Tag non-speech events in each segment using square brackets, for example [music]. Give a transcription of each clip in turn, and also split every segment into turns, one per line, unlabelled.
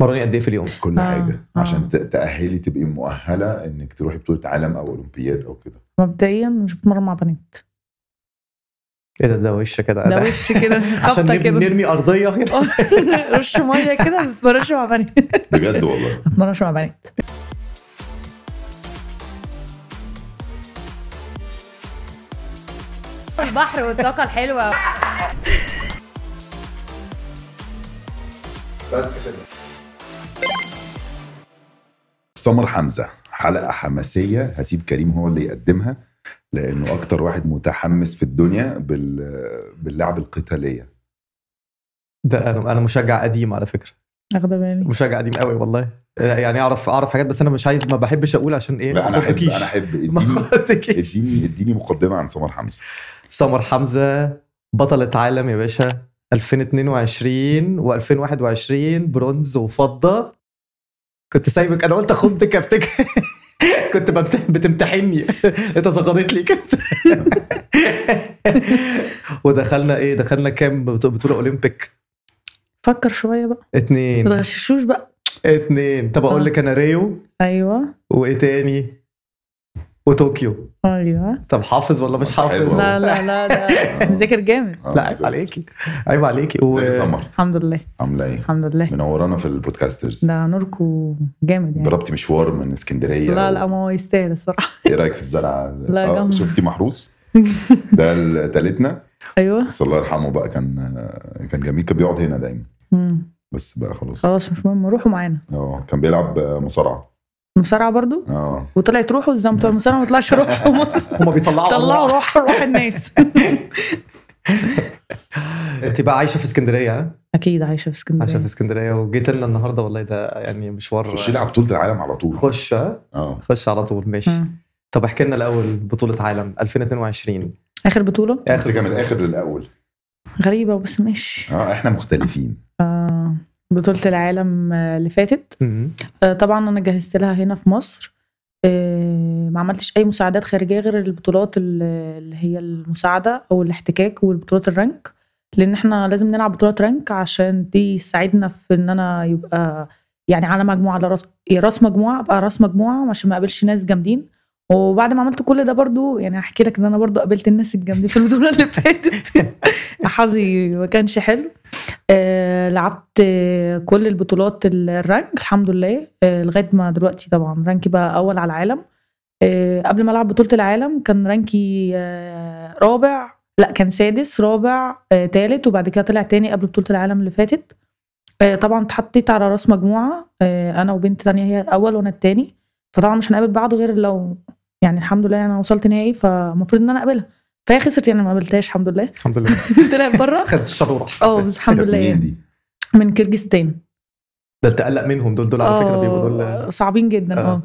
تتمرني قد ايه في اليوم؟
كل
آه،
حاجه
آه.
عشان ت- تاهلي تبقي مؤهله انك تروحي بطوله عالم او اولمبياد او كده
مبدئيا مش بتمرن مع بنات
ايه ده ده وش كده
ده وش
[laughs]
كده
عشان
خبطه
نرمي,
كده
نرمي ارضيه كده
[laughs] رش ميه كده ما بتمرنش مع بنات [laughs]
بجد والله
ما بتمرنش مع بنات
البحر والطاقة الحلوة
بس كده سمر حمزه حلقه حماسيه هسيب كريم هو اللي يقدمها لانه اكتر واحد متحمس في الدنيا بال... باللعب القتاليه
[laughs] ده انا انا مشجع قديم على فكره
واخده بالي
مشجع قديم قوي والله يعني اعرف اعرف حاجات بس انا مش عايز ما بحبش اقول عشان ايه
لا انا
ما
احب
أخدكيش.
انا احب
[laughs] ما
اديني
أخدكيش.
[laughs] اديني اديني مقدمه عن سمر حمزه
سمر حمزه بطلة عالم يا باشا 2022 و2021 برونز وفضه كنت سايبك انا قلت اخد كابتك [laughs] كنت بمت- بتمتحني [laughs] انت سقطت لي [laughs] كده ودخلنا ايه دخلنا كام بط- بطوله اولمبيك
فكر شويه بقى ما
اتنين
تغششوش بقى
اتنين طب اقول لك انا ريو
ايوه
وايه تاني وطوكيو
ايوه
طب حافظ ولا مش
حلو.
حافظ
لا لا لا ده مذاكر جامد
آه،
لا عيب عليكي عيب عليكي و...
ازيك يا سمر
الحمد لله
عامله ايه
الحمد لله
منورانا في البودكاسترز
ده نوركو جامد يعني
ضربتي مشوار من اسكندريه
لا لا
و-
ما هو يستاهل [laughs] الصراحه
ايه رايك في الزرعه
لا،
آه،
جم-
شفتي
[laughs]
محروس ده ال- تالتنا
ايوه
بس الله يرحمه بقى كان كان جميل كان بيقعد هنا دايما
مم.
بس بقى خلاص
خلاص مش مهم روحوا معانا
اه كان بيلعب مصارعه
مصارعه برضو
اه
وطلعت روحه زي ما بتوع المصارعه ما طلعش روحه مصر
هما بيطلعوا
طلعوا
أرواح.
روح روح الناس
انت بقى عايشه في اسكندريه ها؟
اكيد عايشه في
عايشه في
اسكندريه
اسكندريه وجيت لنا النهارده والله ده يعني مشوار
خش لعب بطوله العالم على طول
خش ها؟
اه
خش على طول ماشي
مم.
طب احكي لنا الاول بطوله عالم 2022
اخر بطوله
امسكها من
بطولة.
الاخر للاول
غريبه بس ماشي
اه احنا مختلفين
آه بطوله العالم آه، اللي فاتت
مم.
آه طبعا انا جهزت لها هنا في مصر آه ما عملتش اي مساعدات خارجيه غير البطولات ال- اللي هي المساعده او الاحتكاك والبطولات الرانك لان احنا لازم نلعب بطولات رانك عشان دي تساعدنا في ان انا يبقى يعني على مجموعه على راس يا راس مجموعه ابقى راس مجموعه عشان ما اقابلش ناس جامدين وبعد ما عملت كل ده برضو يعني هحكي لك ان انا برضو قابلت الناس الجامدين في البطوله اللي فاتت [laughs] حظي ما كانش حلو آه، لعبت آه، كل البطولات ال- الرانك الحمد لله آه، لغايه ما دلوقتي طبعا رانكي بقى اول على العالم آه، قبل ما العب بطوله العالم كان رانكي آه، رابع لا كان سادس رابع آه، تالت وبعد كده طلع تاني قبل بطوله العالم اللي فاتت آه، طبعا اتحطيت على راس مجموعه آه، انا وبنت تانية هي الاول وانا التاني فطبعا مش هنقابل بعض غير لو يعني الحمد لله انا وصلت نهائي فالمفروض ان انا اقابلها فهي خسرت يعني ما قابلتهاش الحمد لله [laughs]
الحمد لله
طلعت
[laughs]
بره
خدت الشر وراح
اه بس الحمد
كانت
لله
منين
يعني.
دي
من كيرجستان
ده انت قلق منهم دول دول على فكره
آه،
بيبقوا دول
صعبين جدا
آه.
اه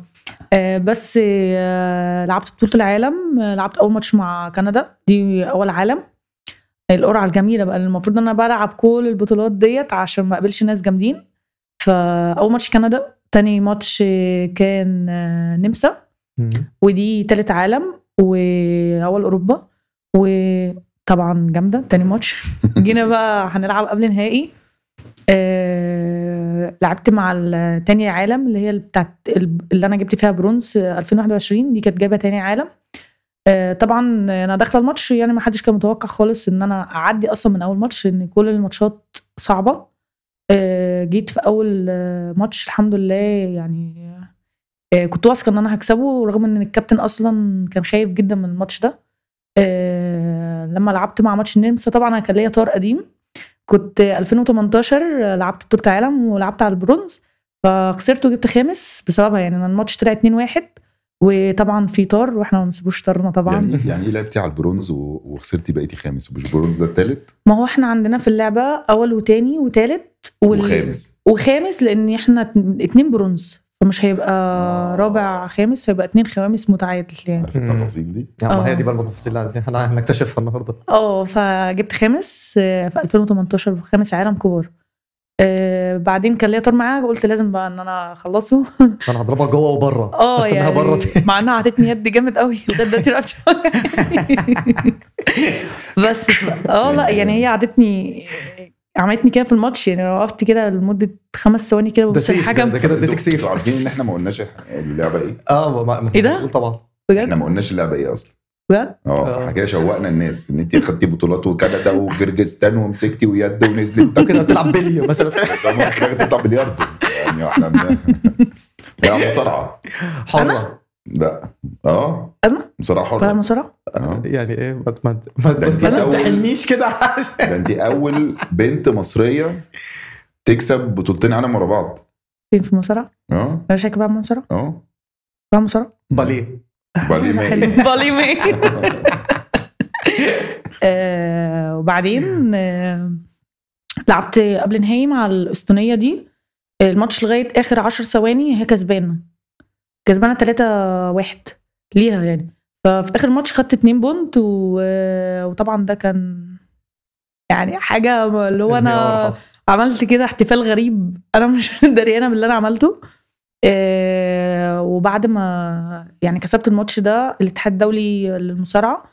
آه، بس آه، لعبت بطولة العالم آه، لعبت أول ماتش مع كندا دي أول عالم القرعة الجميلة بقى المفروض إن أنا بلعب كل البطولات ديت عشان ما أقابلش ناس جامدين فأول ماتش كندا تاني ماتش آه، كان آه، نمسا
مم.
ودي تالت عالم وأول أوروبا وطبعا جامدة تاني ماتش جينا بقى هنلعب قبل نهائي آه لعبت مع ال- تاني عالم اللي هي اللي بتاعت ال- اللي انا جبت فيها برونز آه، 2021 دي كانت جايبه تاني عالم آه طبعا انا داخله الماتش يعني ما حدش كان متوقع خالص ان انا اعدي اصلا من اول ماتش ان كل الماتشات صعبه آه جيت في اول آه، ماتش الحمد لله يعني آه، كنت واثقه ان انا هكسبه رغم ان الكابتن اصلا كان خايف جدا من الماتش ده آه، لما لعبت مع ماتش النمسا طبعا انا كان ليا طار قديم كنت 2018 لعبت بطوله عالم ولعبت على البرونز فخسرت وجبت خامس بسببها يعني انا الماتش طلع 2-1 وطبعا في طار واحنا ما بنسيبوش طارنا طبعا
يعني يعني ايه لعبتي على البرونز و- وخسرتي بقيتي خامس مش البرونز ده التالت
ما هو احنا عندنا في اللعبه اول وتاني وتالت وال-
وخامس
وخامس لان احنا اتن- اتنين برونز فمش هيبقى
آه.
رابع خامس هيبقى اتنين خوامس متعادل يعني
عارف التفاصيل دي
يا عم
آه.
هي دي بقى التفاصيل اللي عايزين- احنا هنكتشفها النهارده
اه فجبت خامس آه، في 2018 في خامس عالم كبار آه، بعدين كان ليا طار معاه قلت لازم بقى ان انا اخلصه
انا هضربها جوه وبره
[laughs] اه
استناها
يعني
بره تاني.
مع انها عطتني يد جامد قوي لغايه دلوقتي ما عرفتش [laughs] آه، أوقع. بس ف- اه لا يعني هي عطتني عملتني كده في الماتش يعني أنا وقفت كده لمده خمس ثواني كده ببص
سيف يعني،
للحكم
[laughs] ده كده اديتك
انتوا-
سيف
انتوا عارفين ان احنا ما قلناش إح- اللعبه ايه؟
اه ما ما
إيه ده؟
بنقول طبعا
احنا
بجد
ما قلناش اللعبه ايه اصلا
بجد
اه فاحنا كده شوقنا الناس ان انت خدتي بطولات وكندا وكرجستان ومسكتي ويد
[laughs]
ونزلت
كده بتلعب بليو
[laughs]
مثلا
بس هم في الآخر بتطلع بلياردو يعني احنا لا مصارعه
حره
لا اه
أنا؟
مصارعه
طالع
حره
مصارعه
آه.
يعني ايه ما ما ما
ده أنت
ما
أول-
تحلنيش كده [laughs] عشان
ده انت اول بنت مصريه تكسب بطولتين عالم ورا بعض
فين في المصارعه؟
اه
انا شاكه بقى مصارعه
اه
بقى مصارعه
باليه
بالي
[laughs]
مائي
بالي مي [laughs] آه، وبعدين آه، لعبت قبل نهائي مع الاستونيه دي الماتش لغايه اخر عشر ثواني هي كسبانه كسبانه 3 واحد ليها يعني ففي اخر ماتش خدت 2 بونت و... آه، وطبعا ده كان يعني حاجه اللي هو انا عملت كده احتفال غريب انا مش [laughs] دريانه باللي انا عملته آه، وبعد ما يعني كسبت الماتش ده الاتحاد الدولي للمصارعه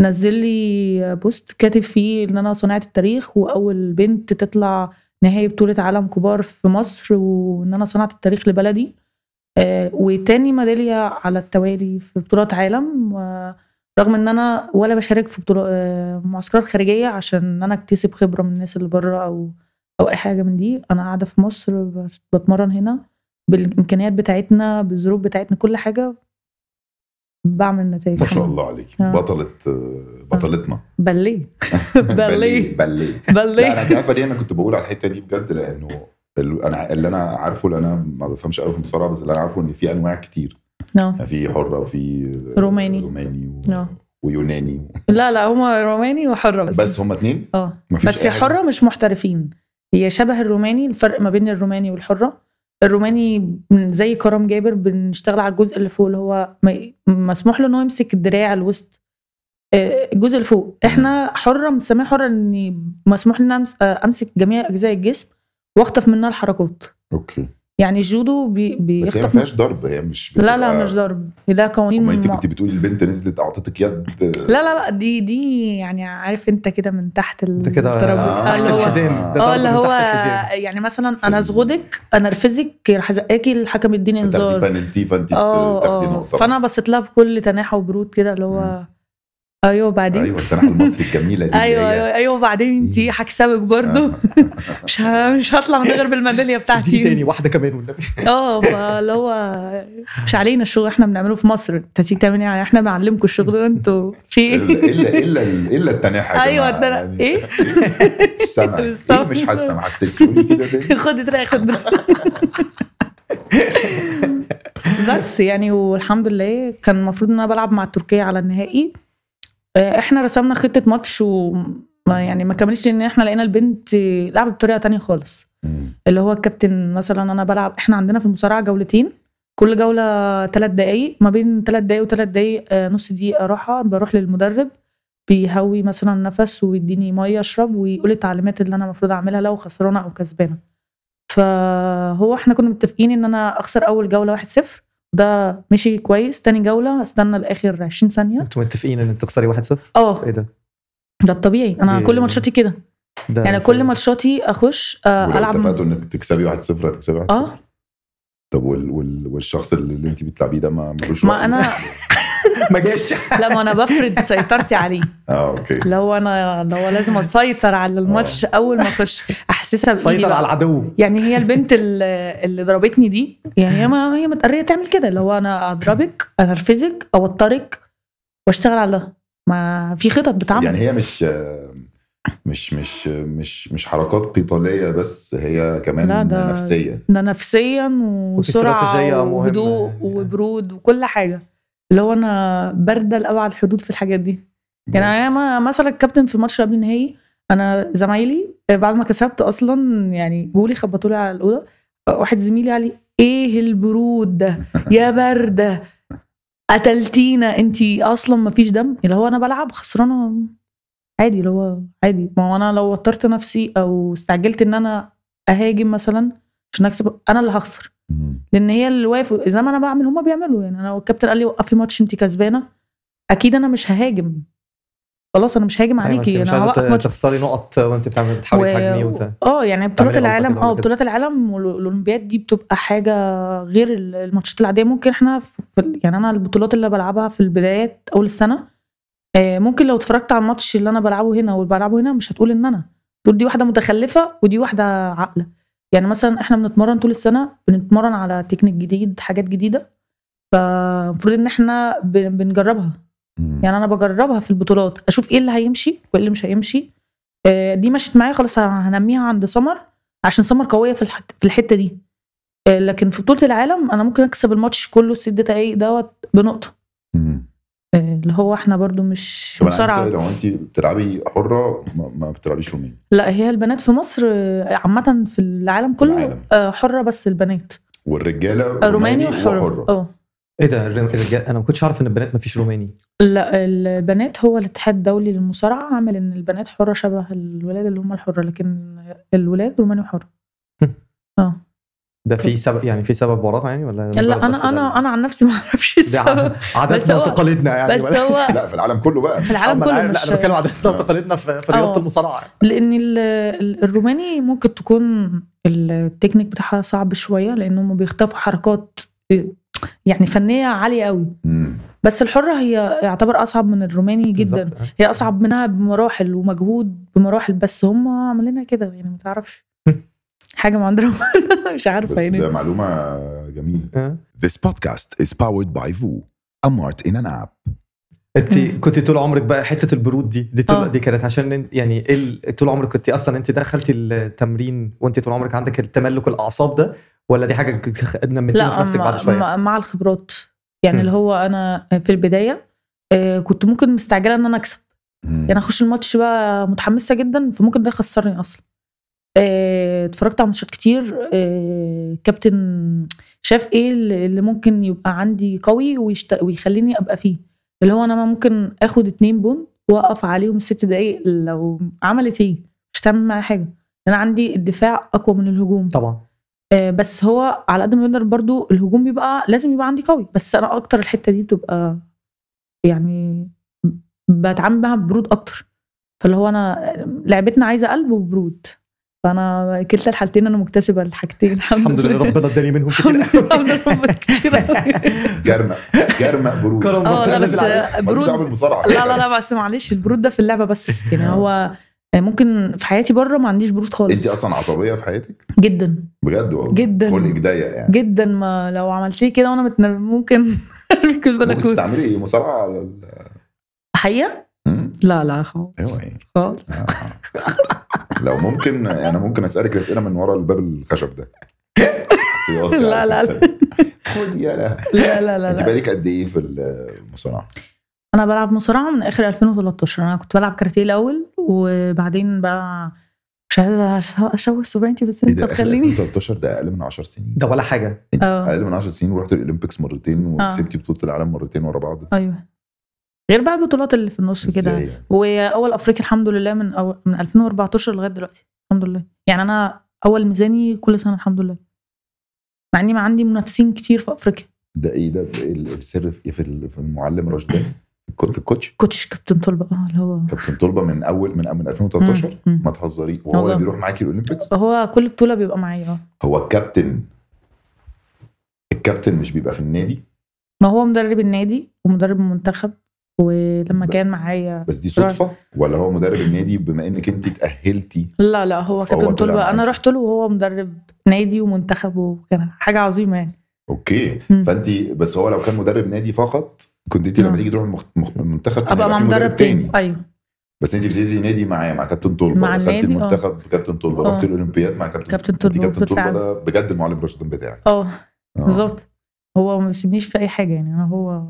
نزل لي بوست كاتب فيه ان انا صناعه التاريخ واول بنت تطلع نهائي بطوله عالم كبار في مصر وان انا صنعت التاريخ لبلدي آه، وتاني ميداليه على التوالي في بطولات عالم و- رغم ان انا ولا بشارك في آه، بطولات معسكرات خارجيه عشان انا اكتسب خبره من الناس اللي بره او او اي حاجه من دي انا قاعده في مصر بت- بتمرن هنا بالامكانيات بتاعتنا بالظروف بتاعتنا كل حاجه بعمل نتائج
ما شاء الله عليك
آه.
بطلة آه، بطلتنا [laughs]
باليه
باليه
باليه
باليه لا انا
باليه
انت عارفه ليه انا كنت بقول على الحته دي بجد لانه ال- انا اللي انا عارفه اللي انا ما بفهمش قوي في المصارعه بس اللي انا عارفه ان في انواع كتير
نعم.
يعني في حره وفي
روماني.
روماني و...
نعم.
ويوناني
لا لا هما روماني وحره بس
بس هما اتنين
اه
مفيش
بس
أي حاجة.
حره مش محترفين هي شبه الروماني الفرق ما بين الروماني والحره الروماني زي كرم جابر بنشتغل على الجزء اللي فوق اللي هو ما- مسموح له انه يمسك الدراع الوسط آه، الجزء اللي فوق احنا حره بنسميها حره ان مسموح لنا أمس- آه، امسك جميع اجزاء الجسم واخطف منها الحركات
اوكي
يعني الجودو بي
بس هي ما
بيخطف
فيهاش ضرب هي مش
لا
بتبقى-
لا مش ضرب ده قوانين
ما انت
مع-
كنت بتقولي البنت نزلت اعطتك يد
لا لا لا دي دي يعني عارف انت كده من تحت
انت كده
الترابيزة.
آه،
آه،
تحت
اللي
[laughs]
هو
الحزام ده
اه
ضرب
اللي
من
هو
تحت الحزام.
يعني مثلا انا اصغدك انرفزك راح ازقاكي الحكم يديني
تاخدي
انذار
بنالتي فانت ت-
اه
تاخدي
اه
نقطه
فانا
بس.
بصيت لها بكل تناحة وبرود كده اللي هو
مم.
ايوه بعدين
ايوه التنحى المصري الجميله دي
ايوه
اللي هي-
ايوه ايوه بعدين انت
مم. آه.
هكسبك برضه [laughs] مش ه- مش هطلع من غير بالميداليه
دي
بتاعتي
تاني واحده كمان والنبي
اه فاللي هو مش علينا الشغل احنا بنعمله في مصر انت تيجي تعمل ايه يعني احنا بنعلمكم الشغل ده انتوا في ايه [laughs]
الا الا الا ال- الا التناحه يا
ايوه
جماعة.
ده أنا-
يعني
ايه
مش
[laughs]
سامع
بالظبط.
ايه مش حاسه ما حسيتش قولي كده تاني.
[laughs] خد دراعي خد دراعي [laughs] بس يعني والحمد لله كان المفروض ان انا بلعب مع تركيا على النهائي آه، احنا رسمنا خطه ماتش وما يعني ما كملش ان احنا لقينا البنت لعبت بطريقه تانية خالص [laughs]
مم.
اللي هو الكابتن مثلا انا بلعب احنا عندنا في المصارعه جولتين كل جوله ثلاث دقايق ما بين ثلاث دقايق وثلاث دقايق آه، نص دقيقه راحه بروح للمدرب بيهوي مثلا نفس ويديني ميه اشرب ويقول لي التعليمات اللي انا المفروض اعملها لو خسرانه او كسبانه فهو احنا كنا متفقين ان انا اخسر اول جوله 1-0 ده مشي كويس تاني جوله استنى لاخر 20 ثانيه
انتوا متفقين ان انت تخسري 1-0
اه
ايه ده
ده الطبيعي انا
دي-
كل ماتشاتي كده
ده
يعني
زي-
كل ماتشاتي اخش آه،
ولو
العب
اتفقتوا انك تكسبي 1-0 هتكسبي 1-0
اه
طب وال... وال... والشخص اللي اللي انت بتلعبيه ده ما ملوش رأي؟
ما انا
ما
[laughs]
جاش
لا ما انا بفرض سيطرتي عليه
اه اوكي
لو انا لو لازم اسيطر على الماتش اول ما اخش احسسها بايدي
سيطر
بقى.
على العدو
يعني هي البنت ال- اللي ضربتني دي يعني هي ما هي متقريه تعمل كده اللي هو انا اضربك انرفزك اوترك واشتغل على ما في خطط بتعمل
يعني هي مش مش مش مش مش حركات قتاليه بس هي كمان
لا، ده-
نفسيه
ده نفسيا
استراتيجية
وسرعه
مهمة
وهدوء
يعني.
وبرود وكل حاجه اللي هو انا بارده لابعد الحدود في الحاجات دي يعني انا ما مثلا الكابتن في الماتش قبل النهائي انا زمايلي آه، بعد ما كسبت اصلا يعني جولي خبطوا لي على الاوضه واحد زميلي قال لي ايه البرود ده يا بارده قتلتينا انتي اصلا ما فيش دم اللي هو انا بلعب خسرانه عادي اللي هو عادي ما هو انا لو وترت نفسي او استعجلت ان انا اهاجم مثلا عشان اكسب انا اللي هخسر
مم.
لان هي اللي واقف زي ما انا بعمل هما بيعملوا يعني انا لو الكابتن قال لي وقفي ماتش انت كسبانه اكيد انا مش ههاجم خلاص انا مش هاجم
أيوة، أنت
عليكي
مش
انا
عايزه
هلقط
تخسري نقط وانت بتعملي بتحاولي تهاجمي وت...
اه يعني بطولات
تعملي غلطة
العالم
كده ولا
اه
كده.
بطولات العالم والاولمبياد دي بتبقى حاجه غير ال- الماتشات العاديه ممكن احنا في في- يعني انا البطولات اللي بلعبها في البدايات اول السنه آه، ممكن لو اتفرجت على الماتش اللي انا بلعبه هنا واللي بلعبه هنا مش هتقول ان انا تقول دي واحده متخلفه ودي واحده عاقله يعني مثلا احنا بنتمرن طول السنه بنتمرن على تكنيك جديد حاجات جديده فالمفروض ان احنا ب- بنجربها يعني انا بجربها في البطولات اشوف ايه اللي هيمشي وايه اللي مش هيمشي آه، دي مشيت معايا خلاص هنميها عند سمر عشان سمر قويه في الحت... في الحته دي آه، لكن في بطوله العالم انا ممكن اكسب الماتش كله الست دقايق دوت بنقطه
مم.
آه، اللي هو احنا برضو مش
طب انا عايز
مصارعه
اسال هو انت بتلعبي حره ما, ما بتلعبيش رومين
لا هي البنات في مصر آه، عامه في العالم كله
العالم.
آه، حره بس البنات
والرجاله
آه، روماني وحره اه
ايه ده الر- الرجال انا ما كنتش عارف ان البنات ما فيش روماني
لا البنات هو الاتحاد الدولي للمصارعه عامل ان البنات حره شبه الولاد اللي هم الحره لكن الولاد روماني حره
ده في سبب يعني في سبب وراها يعني ولا مجرد
لا
بس
انا
ده
انا
ال-
انا عن نفسي ما اعرفش
دي [laughs]
السبب
ع- عاداتنا
هو-
وتقاليدنا يعني
بس
ولا- [laughs]
هو
لا في العالم كله بقى
في العالم
أما أنا
كله
عارف- لا
مش
انا بتكلم عاداتنا وتقاليدنا في يعني. في رياضه
آه.
المصارعه
لان ال- ال- الروماني ممكن تكون التكنيك بتاعها صعب شويه لان هم بيختفوا حركات يعني فنيه عاليه قوي
مم.
بس الحره هي يعتبر اصعب من الروماني جدا
بالظبط.
هي اصعب منها بمراحل ومجهود بمراحل بس هم عاملينها كده يعني ما
[laughs]
تعرفش حاجه من عند ربنا [laughs] مش
بس
عارفه
ده
يعني
معلومه جميله
آه.
This podcast is powered by VU, a mart in an app.
انت
مم.
كنت طول عمرك بقى حته البرود دي دي
آه.
طول دي كانت عشان إن- يعني إيه ال- طول عمرك كنت اصلا انت دخلتي التمرين وانت طول عمرك عندك التملك الاعصاب ده ولا دي حاجه ك- ك- نمتيها في
لا
نفسك بعد
مع,
شويه
مع- مع الخبرات يعني
مم.
اللي هو انا في البدايه آه، كنت ممكن مستعجله ان انا اكسب
مم.
يعني اخش الماتش بقى متحمسه جدا فممكن ده يخسرني اصلا آه، اتفرجت على ماتشات كتير آه، كابتن شاف ايه اللي اللي ممكن يبقى عندي قوي ويشت... ويخليني ابقى فيه اللي هو انا ممكن اخد اتنين بون واقف عليهم الست دقايق لو عملت ايه مش هتعمل معايا حاجه انا عندي الدفاع اقوى من الهجوم
طبعا
[laughs] آه، بس هو على قد ما يقدر برضو الهجوم بيبقى لازم يبقى عندي قوي بس انا اكتر الحته دي بتبقى يعني بتعامل بها برود اكتر فاللي هو انا لعبتنا عايزه قلب وبرود فانا كلتا الحالتين انا مكتسبه الحاجتين
الحمد لله
[laughs]
ربنا اداني منهم كتير
الحمد
قوي.
الحمد لله ربنا كتير أوي.
جرمق جرمق برود
كرم
اه لا بس
ملوش دعوه
برود
بالمصارعه
لا لا لا بس معلش البرود ده في اللعبه بس يعني
آه.
هو ممكن في حياتي بره ما عنديش برود
انت
خالص
اصلا عصبيه في حياتك
جدا
بجد والله
جدا.
خلقك ضيق يعني
جدا ما لو عملتيه كده وانا متنرف ممكن اركب
ممكن
البلكونه
تستعملي مصارعه على ال-
حقيقة؟
مم.
لا لا خالص
ايوه ايه
خالص
آه. لو ممكن انا ممكن اسالك اسئله من ورا الباب الخشب
[laughs]
ده
لا لا لا
خد يا لا
لا لا لا, [laughs]
انت
لا.
بقالك قد ايه في المصارعه؟
انا بلعب مصارعة من اخر 2013 انا كنت بلعب كاراتيه الاول وبعدين بقى مش عايزة أش- اشوه سمعتي بس
ايه
انت
ده آخر
تخليني
2013 ده اقل من 10 سنين
[laughs] ده ولا حاجه
اه
اقل من 10 سنين ورحت الاولمبيكس مرتين
آه.
وكسبتي بطوله العالم مرتين ورا بعض
ايوه غير بقى البطولات اللي في النص كده
ازاي يعني؟
واول افريقيا الحمد لله من أو من 2014 لغايه دلوقتي الحمد لله يعني انا اول ميزاني كل سنه الحمد لله مع اني ما عندي منافسين كتير في افريقيا
ده ايه ده ال- السر في إيه؟ في ال- في المعلم رشدان الكو- في الكوتش
كوتش كابتن طلبه اه اللي هو
كابتن طلبه من اول من من 2013
مم. مم.
ما تهزري وهو اللي
والله.
بيروح معاكي الاولمبيكس
هو كل بطوله بيبقى معايا اه
هو الكابتن الكابتن مش بيبقى في النادي
ما هو مدرب النادي ومدرب المنتخب ولما
ب-
كان معايا
بس دي صدفه ولا هو مدرب النادي بما انك انت اتاهلتي
لا لا هو
فهو
كابتن
طلع
طلبه انا
معاكي.
رحت له وهو مدرب نادي ومنتخب وكان حاجه عظيمه يعني
اوكي
مم.
فانت بس هو لو كان مدرب نادي فقط كنت انت لما
آه.
تيجي تروح المخ- مخ- المنتخب كان
ابقى
هيبقى
مع
في
مدرب تاني ايوه
بس انت بتبتدي نادي معاه مع كابتن طلبه
مع
دخلتي
النادي، اه.
المنتخب كابتن طلبه
اه.
رحت الاولمبياد مع كابتن
كابتن
انت
طلبة
كابتن طلبه
وبتلعب.
ده بجد المعلم رشدان بتاعك
اه
اه.
بالظبط هو ما بيسيبنيش في اي حاجه يعني انا هو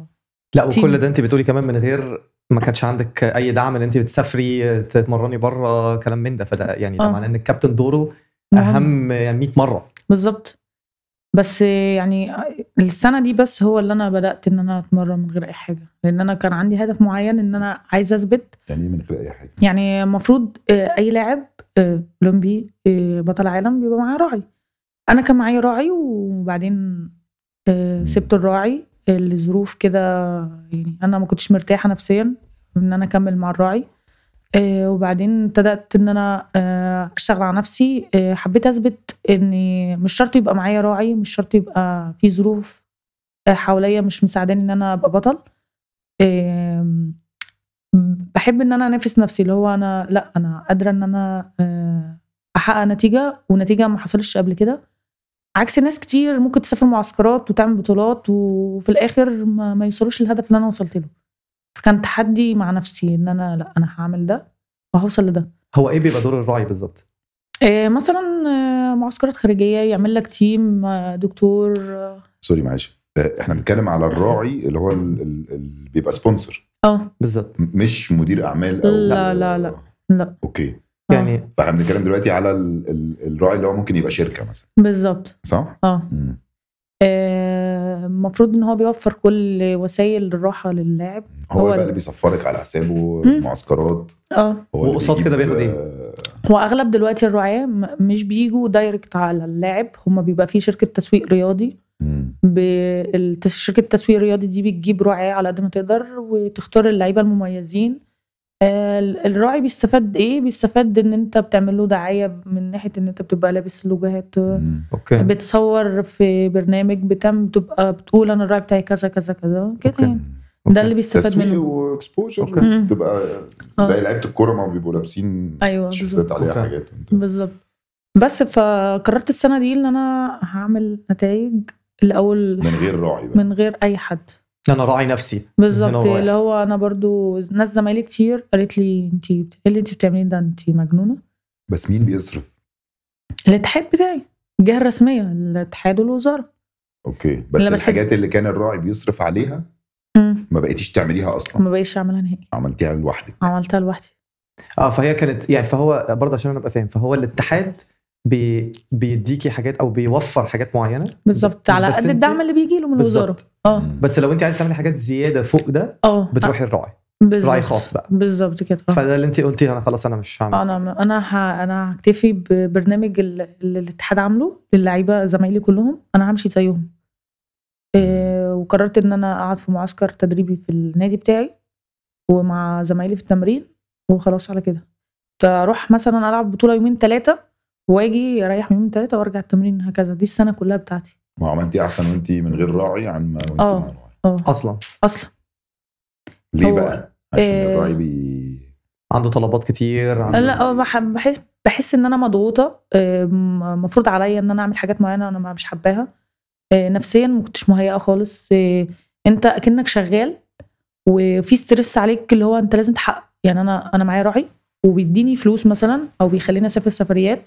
لا
تيم.
وكل ده انت بتقولي كمان من غير ما كانش عندك اي دعم ان انت بتسافري تتمرني بره كلام من ده فده يعني ده
آه. نعم.
معناه ان الكابتن دوره
مهم.
اهم يعني 100 مره
بالظبط بس يعني السنه دي بس هو اللي انا بدات ان انا اتمرن من غير اي حاجه لان انا كان عندي هدف معين ان انا عايزه اثبت
يعني ايه من غير اي حاجه
يعني المفروض آه، اي لاعب آه، اولمبي آه، بطل عالم بيبقى معاه راعي انا كان معايا راعي وبعدين آه، سبت الراعي آه، لظروف كده يعني انا ما كنتش مرتاحه نفسيا ان انا اكمل مع الراعي آه، وبعدين ابتدات ان انا آه، اشتغل على نفسي آه، حبيت اثبت ان مش شرط يبقى معايا راعي مش شرط يبقى في ظروف آه، حواليا مش مساعداني ان انا ابقى بطل آم، بحب ان انا انافس نفسي اللي هو انا لا انا قادره ان انا آه، احقق نتيجه ونتيجه ما حصلتش قبل كده عكس ناس كتير ممكن تسافر معسكرات وتعمل بطولات وفي الاخر ما, ما يوصلوش للهدف اللي انا وصلت له فكان تحدي مع نفسي ان انا لا انا هعمل ده وهوصل لده
هو ايه بيبقى دور الراعي بالظبط؟
إيه مثلا آه، معسكرات خارجيه يعمل لك تيم آه، دكتور آه،
سوري معلش آه، احنا بنتكلم على الراعي اللي هو ال- ال- ال- بيبقى سبونسر
اه
بالظبط
مش مدير اعمال او
لا، لا، لا. لا
اوكي
آه،
يعني
فاحنا بنتكلم دلوقتي على ال- ال- الراعي اللي هو ممكن يبقى شركه مثلا
بالظبط
صح؟
اه
مم.
آه، المفروض ان هو بيوفر كل وسائل الراحه للاعب
هو,
هو
بقى
ال-
اللي بيصفرك على حسابه
مم.
معسكرات
اه
هو اللي
وقصاد
بيجيب-
كده بياخد ايه؟
آه،
هو اغلب دلوقتي الرعاة م- مش بيجوا دايركت على اللاعب هما بيبقى في شركه تسويق رياضي
مم.
بالت- شركه التسويق الرياضي دي بتجيب رعاة على قد ما تقدر وتختار اللعيبه المميزين آه، ال- الراعي بيستفاد ايه بيستفاد ان انت بتعمل له دعايه من ناحيه ان انت بتبقى لابس لوجوهات
مم.
اوكي
بتصور في برنامج بتم بتبقى بتقول انا الراعي بتاعي كذا كذا كذا كده
أوكي.
يعني
أوكي.
ده اللي بيستفاد
تسويق
منه
واكسبوجر
أوكي.
تبقى
آه.
زي لعيبه الكوره ما بيبقوا لابسين
ايوه بالظبط
تيشيرتات عليها
أوكي.
حاجات
بالظبط بس فقررت السنه دي ان انا هعمل نتائج الاول
من غير راعي بقى
من غير اي حد
انا راعي نفسي
بالظبط
هو-
اللي هو انا برضو ناس زمايلي كتير قالت لي انت ايه اللي انت بتعمليه ده انت مجنونه
بس مين بيصرف؟
الاتحاد بتاعي الجهه الرسميه الاتحاد والوزاره
اوكي بس
لا، بس-
الحاجات اللي كان الراعي بيصرف عليها
مم.
ما بقيتيش تعمليها اصلا
ما بقيتش اعملها نهائي
عملتيها لوحدك
عملتها لوحدي
اه فهي كانت يعني فهو برضه عشان انا ابقى فاهم فهو الاتحاد بي بيديكي حاجات او بيوفر حاجات معينه
بالظبط على
بس
قد
انت-
الدعم اللي بيجي له من الوزاره
بالظبط.
اه
مم.
بس لو انت عايز تعملي حاجات زياده فوق ده
اه
بتروحي الراعي
بالظبط.
راعي خاص بقى.
بالظبط كده آه.
فده اللي انت قلتي انا خلاص انا مش هعمل
انا انا ه... انا هكتفي ببرنامج ال- اللي الاتحاد عامله للعيبه زمايلي كلهم انا همشي زيهم إيه وقررت ان انا اقعد في معسكر تدريبي في النادي بتاعي ومع زمايلي في التمرين وخلاص على كده كنت اروح مثلا العب بطوله يومين ثلاثه واجي اريح يومين ثلاثه وارجع التمرين هكذا دي السنه كلها بتاعتي
وعملتي احسن وانت من غير راعي عن ما وانت
آه.
مع راعي
اه
اصلا
اصلا
ليه
هو-
بقى؟ عشان
آه.
الراعي بي
عنده طلبات كتير عنده
لا آه، بح- بحس بحس ان انا مضغوطه آه، م- مفروض عليا ان انا اعمل حاجات معينه انا ما- مش حباها آه، نفسيا ما كنتش مهيئه خالص آه، انت اكنك شغال وفي ستريس عليك اللي هو انت لازم تحقق يعني انا انا معايا راعي وبيديني فلوس مثلا او بيخليني اسافر سفريات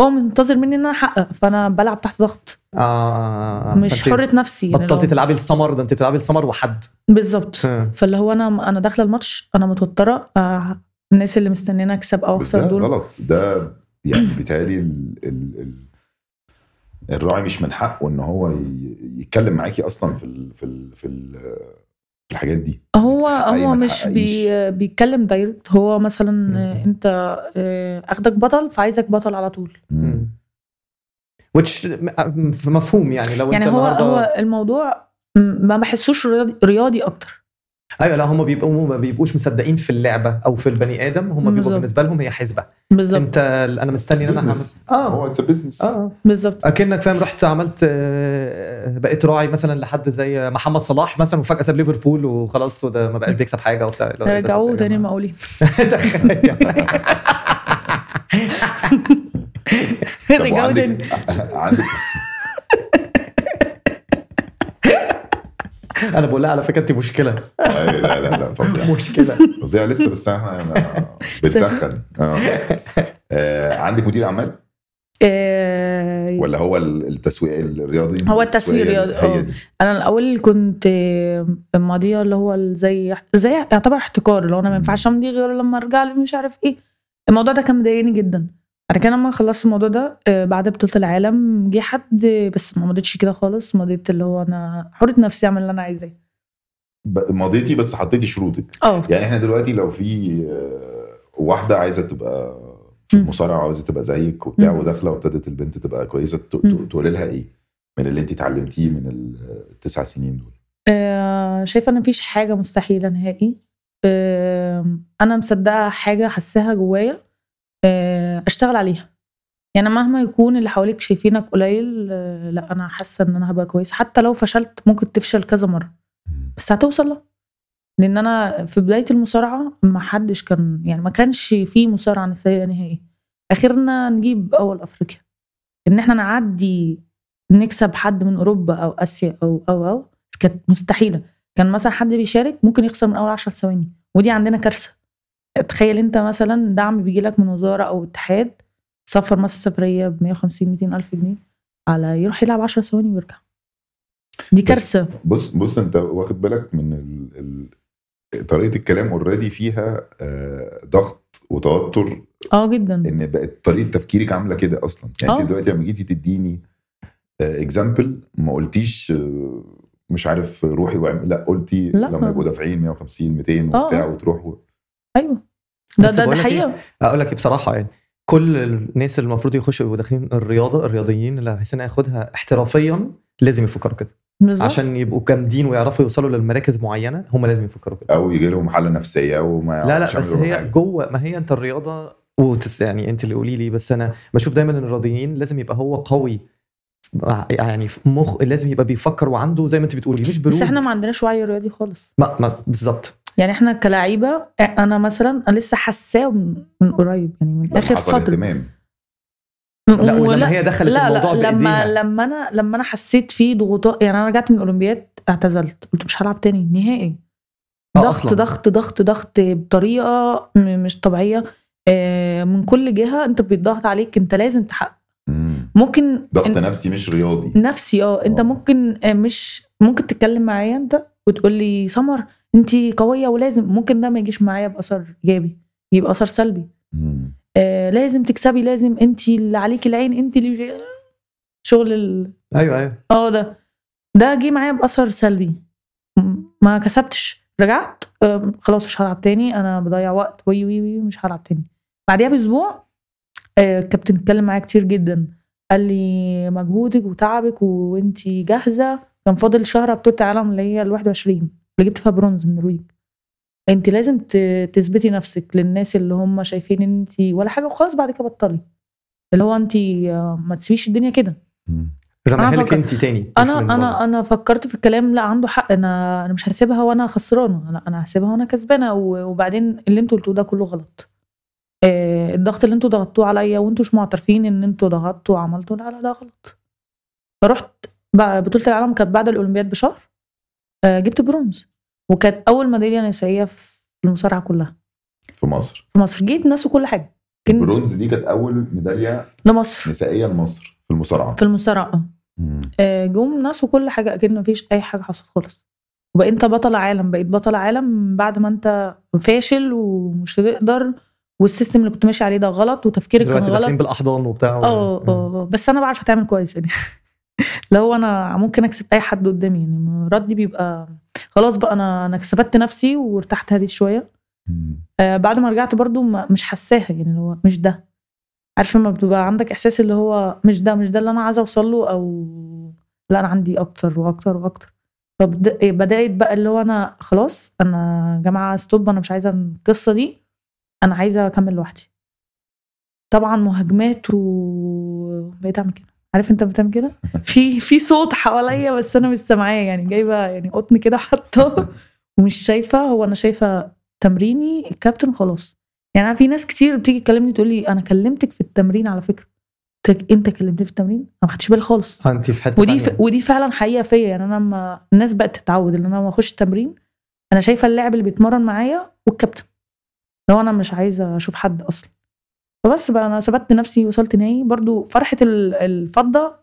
هو منتظر مني ان انا احقق فانا بلعب تحت ضغط
آه، آه آه.
مش
فانت
حره نفسي يعني
بطلتي
لو-
تلعبي السمر ده انت بتلعبي السمر وحد
بالظبط
اه.
فاللي هو انا انا داخله الماتش انا متوتره آه، الناس اللي مستنياني اكسب او
بس ده
اخسر دول
غلط ده يعني بيتهيألي ال... ال... ال... الراعي مش من حقه ان هو ي... يتكلم معاكي اصلا في ال... في ال... في, ال... في الحاجات دي
هو
تحققي
هو
ما
مش بي
تحققيش.
بيتكلم دايركت هو مثلا
مم.
آه، انت آه، اخدك بطل فعايزك بطل على طول
مم.
which م- م- مفهوم يعني لو
يعني
انت
هو
النهارده
هو الموضوع م- ما بحسوش رياضي- رياضي اكتر
ايوه لا هم بيبقوا ما بيبقوش مصدقين في اللعبه او في البني ادم هم بيبقوا
بالظبط.
بالنسبه لهم هي حسبه
بالظبط
انت انا مستني ان انا هعمل
بزنس
اه
هو اتس بزنس
آه.
اه
بالظبط
اكنك فاهم رحت عملت آه، بقيت راعي مثلا لحد زي محمد صلاح مثلا وفجاه ساب ليفربول وخلاص وده ما بقاش بيكسب حاجه وبتاع اللي هو ايه ده؟
رجعوه
طب يا
تاني
جماعة.
المقاولين
تخيل. [laughs]
طب
[laughs] رجعوه تاني
وعندك [laughs] عندك
انا بقول لها على فكره انت مشكله
أي لا لا لا فظيع
مشكله
فظيع لسه بس احنا
[laughs]
أنا بتسخن آه. آه. عندك مدير اعمال
آه،
ولا هو ال- التسويق الرياضي
هو التسويق الرياضي،
هي
آه.
دي
انا الاول كنت آه، ماضيه اللي هو ال- زي زي يعتبر احتكار اللي هو انا ما
مم.
ينفعش امضي غير لما ارجع لي مش عارف ايه الموضوع ده كان مضايقني جدا بعد كده لما خلصت الموضوع ده آه، بعد بطوله العالم جه حد آه، بس ما مضيتش كده خالص مضيت اللي هو انا حره نفسي اعمل اللي انا عايزاه
ب- ماضيتي بس حطيتي شروطك
اه
يعني احنا دلوقتي لو في آه، واحده عايزه تبقى في
مم.
المصارعه وعايزه تبقى زيك وبتاع
مم.
وداخله وابتدت البنت تبقى كويسه ت- ت-
مم.
تقولي لها ايه من اللي انت اتعلمتيه من التسع سنين دول
آه، شايفه ان مفيش حاجه مستحيله نهائي آم، انا مصدقه حاجه حاساها جوايا آه، اشتغل عليها يعني مهما يكون اللي حواليك شايفينك قليل آه، لا انا حاسه ان انا هبقى كويس حتى لو فشلت ممكن تفشل كذا مره بس هتوصل له لان انا في بدايه المصارعه ما حدش كان يعني ما كانش في مصارعه نسائيه نهائي اخرنا نجيب اول افريقيا ان احنا نعدي نكسب حد من اوروبا او اسيا او او او كانت مستحيله كان مثلا حد بيشارك ممكن يخسر من اول 10 ثواني ودي عندنا كارثه تخيل انت مثلا دعم بيجي لك من وزاره او اتحاد سفر مثلا سفريه ب 150 200 الف جنيه على يروح يلعب 10 ثواني ويرجع دي كارثه
بص بص انت واخد بالك من ال... ال... طريقه الكلام اوريدي فيها آه، ضغط وتوتر
اه جدا
ان بقت طريقه تفكيرك عامله كده اصلا يعني
آه.
انت دلوقتي لما جيتي تديني اكزامبل ما قلتيش آه، مش عارف روحي وعم... لا قلتي
لا.
لما يبقوا دافعين 150 200
آه،
وبتاع
آه.
وتروح و...
ايوه ده
بس
ده, ده
بقولك إيه؟
حقيقه
اقول لك إيه بصراحه يعني كل الناس اللي المفروض يخشوا يبقوا داخلين الرياضه الرياضيين اللي هيسنا ياخدها احترافيا لازم يفكروا كده
بالظبط
عشان يبقوا جامدين ويعرفوا يوصلوا للمراكز معينه هم لازم يفكروا كده
او يجي لهم حاله نفسيه وما
لا
يعرفوش
لا بس
يعملوا
هي
حاجة.
جوه ما هي انت الرياضه وتس يعني انت اللي قولي لي بس انا بشوف دايما ان الرياضيين لازم يبقى هو قوي مع- يعني في مخ لازم يبقى بيفكر وعنده زي ما انت بتقولي مش برود
بس احنا ما عندناش وعي رياضي خالص
ما, ما بالظبط
يعني إيه، احنا كلاعيبه انا مثلا انا لسه حاساه من من قريب يعني من اخر
حصل
فتره
اهتمام
لا ولما
ولا-
هي دخلت
لا
الموضوع
لا لما
بايديها
لما انا لما انا حسيت في ضغوطات يعني انا رجعت من الاولمبياد اعتزلت قلت مش هلعب تاني نهائي
آه،
ضغط
أصلاً.
ضغط ضغط ضغط بطريقه م- مش طبيعيه آه، من كل جهه انت بيتضغط عليك انت لازم تحقق
مم.
ممكن
ضغط
إن-
نفسي مش رياضي
نفسي اه انت
آه.
ممكن آه، مش ممكن تتكلم معايا انت وتقول لي سمر انت قويه ولازم ممكن ده ما يجيش معايا باثر ايجابي يبقى اثر سلبي
مم.
آه لازم تكسبي لازم انت اللي عليكي العين انت اللي شغل ال-
ايوه ايوه
اه ده ده جه معايا باثر سلبي م- ما كسبتش رجعت آم، خلاص مش هلعب تاني انا بضيع وقت وي وي وي مش هلعب تاني بعديها باسبوع آه، الكابتن اتكلم معايا كتير جدا قال لي مجهودك وتعبك وانتي جاهزه كان فاضل شهر بطوله العالم اللي هي ال 21 اللي جبت فيها برونز من النرويج انت لازم ت- تثبتي نفسك للناس اللي هم شايفين ان انت ولا حاجه وخلاص بعد كده بطلي اللي هو انت آه، ما تسيبيش الدنيا كده
مم.
رميها لك
فكر-
انت تاني مش
انا
من بره.
انا انا فكرت في الكلام لا عنده حق انا انا مش هسيبها وانا خسرانه لا انا هسيبها وانا كسبانه و- وبعدين اللي انتوا قلتوه ده كله غلط آه، الضغط اللي انتوا ضغطتوه عليا وانتوا مش معترفين ان انتوا ضغطتوا وعملتوا لا لا ده غلط فرحت بقى بطوله العالم كانت بعد الاولمبياد بشهر آه، جبت برونز وكانت اول ميداليه نسائيه في المصارعه كلها
في مصر
في مصر جيت ناس وكل حاجه كان
برونز دي كانت اول ميداليه
لمصر
نسائيه لمصر في المصارعه
في المصارعه
مم.
آه، جم ناس وكل حاجه اكيد مفيش اي حاجه حصلت خالص وبقيت انت بطل عالم بقيت بطل عالم بعد ما انت فاشل ومش تقدر والسيستم اللي كنت ماشي عليه ده غلط وتفكيرك كان
دلوقتي داخلين
غلط
بالاحضان وبتاع و-
اه اه بس انا بعرف اتعامل كويس يعني [laughs] لو انا ممكن اكسب اي حد قدامي يعني ردي بيبقى خلاص بقى انا انا كسبت نفسي وارتحت هديت شويه
مم.
آه، بعد ما رجعت برضو ما مش حساها يعني اللي هو مش ده عارفه لما بتبقى عندك احساس اللي هو مش ده مش ده اللي انا عايزه اوصل له او لا انا عندي اكتر واكتر واكتر فبدات إيه، بقى اللي هو انا خلاص انا يا جماعه ستوب انا مش عايزه القصه دي انا عايزه اكمل لوحدي طبعا مهاجمات وبقيت اعمل كده عارف انت بتعمل كده [laughs] في في صوت حواليا بس انا مش سامعاه يعني جايبه يعني قطن كده حاطه [laughs] ومش شايفه هو انا شايفه تمريني الكابتن خلاص يعني أنا في ناس كتير بتيجي تكلمني تقول لي انا كلمتك في التمرين على فكره قلت لك انت كلمتني في التمرين انا ما خدتش بالي خالص
آه، انت في حته
ودي
طيب.
ف...
تانية.
ودي فعلا حقيقه فيا يعني انا لما الناس بقت تتعود ان انا لما اخش التمرين انا شايفه اللاعب اللي بيتمرن معايا والكابتن لو انا مش عايزه اشوف حد اصلا فبس بقى انا ثبت نفسي وصلت نهائي برضو فرحه ال- الفضه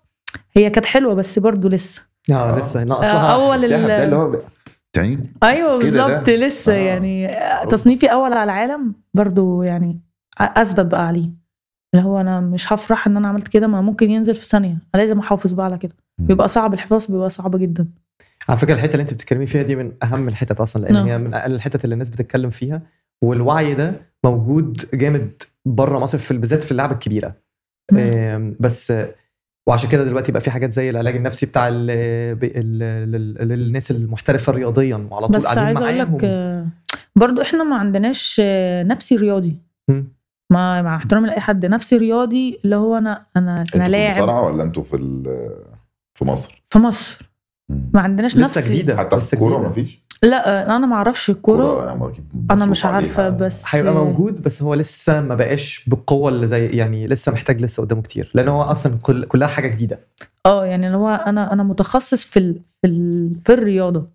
هي كانت حلوه بس برضو لسه
اه لسه ناقصها
آه، اول
ده ده اللي
ال...
هو بقى- يعني
ايوه
كده ده.
بالظبط لسه
آه.
يعني تصنيفي اول على العالم برضو يعني أ- اثبت بقى عليه اللي هو انا مش هفرح ان انا عملت كده ما ممكن ينزل في ثانيه انا لازم احافظ بقى على كده
مم.
بيبقى صعب الحفاظ بيبقى صعب جدا
على فكره الحته اللي انت بتتكلمي فيها دي من اهم الحتت اصلا لان
نعم.
هي من اقل الحتت اللي الناس بتتكلم فيها والوعي ده موجود جامد بره مصر في بالذات في اللعبه الكبيره
مم.
آم، بس آه، وعشان كده دلوقتي بقى في حاجات زي العلاج النفسي بتاع ال ال ال ال الناس المحترفه رياضيا وعلى طول
بس
قاعدين
عايزه اقول لك
معاهم
آه، برضو احنا ما عندناش آه، نفسي رياضي
مم.
ما مع احترامي لاي حد نفسي رياضي اللي هو انا انا انا
انتوا في
لاعب
المصارعه ولا انتوا في ال- في مصر؟
في مصر
مم.
ما عندناش
لسه
نفسي
جديده
حتى في
لسه
الكوره
جديدة.
مفيش؟
لا آه، انا ما اعرفش الكوره
كورة يعني أكيد
انا مش
مصروف
عارفه
عليها.
بس
هيبقى
آه،
موجود بس هو لسه ما بقاش بالقوه اللي زي يعني لسه محتاج لسه قدامه كتير لان هو اصلا كل كلها حاجه جديده
اه يعني اللي هو انا انا متخصص في ال... في, ال... في الرياضه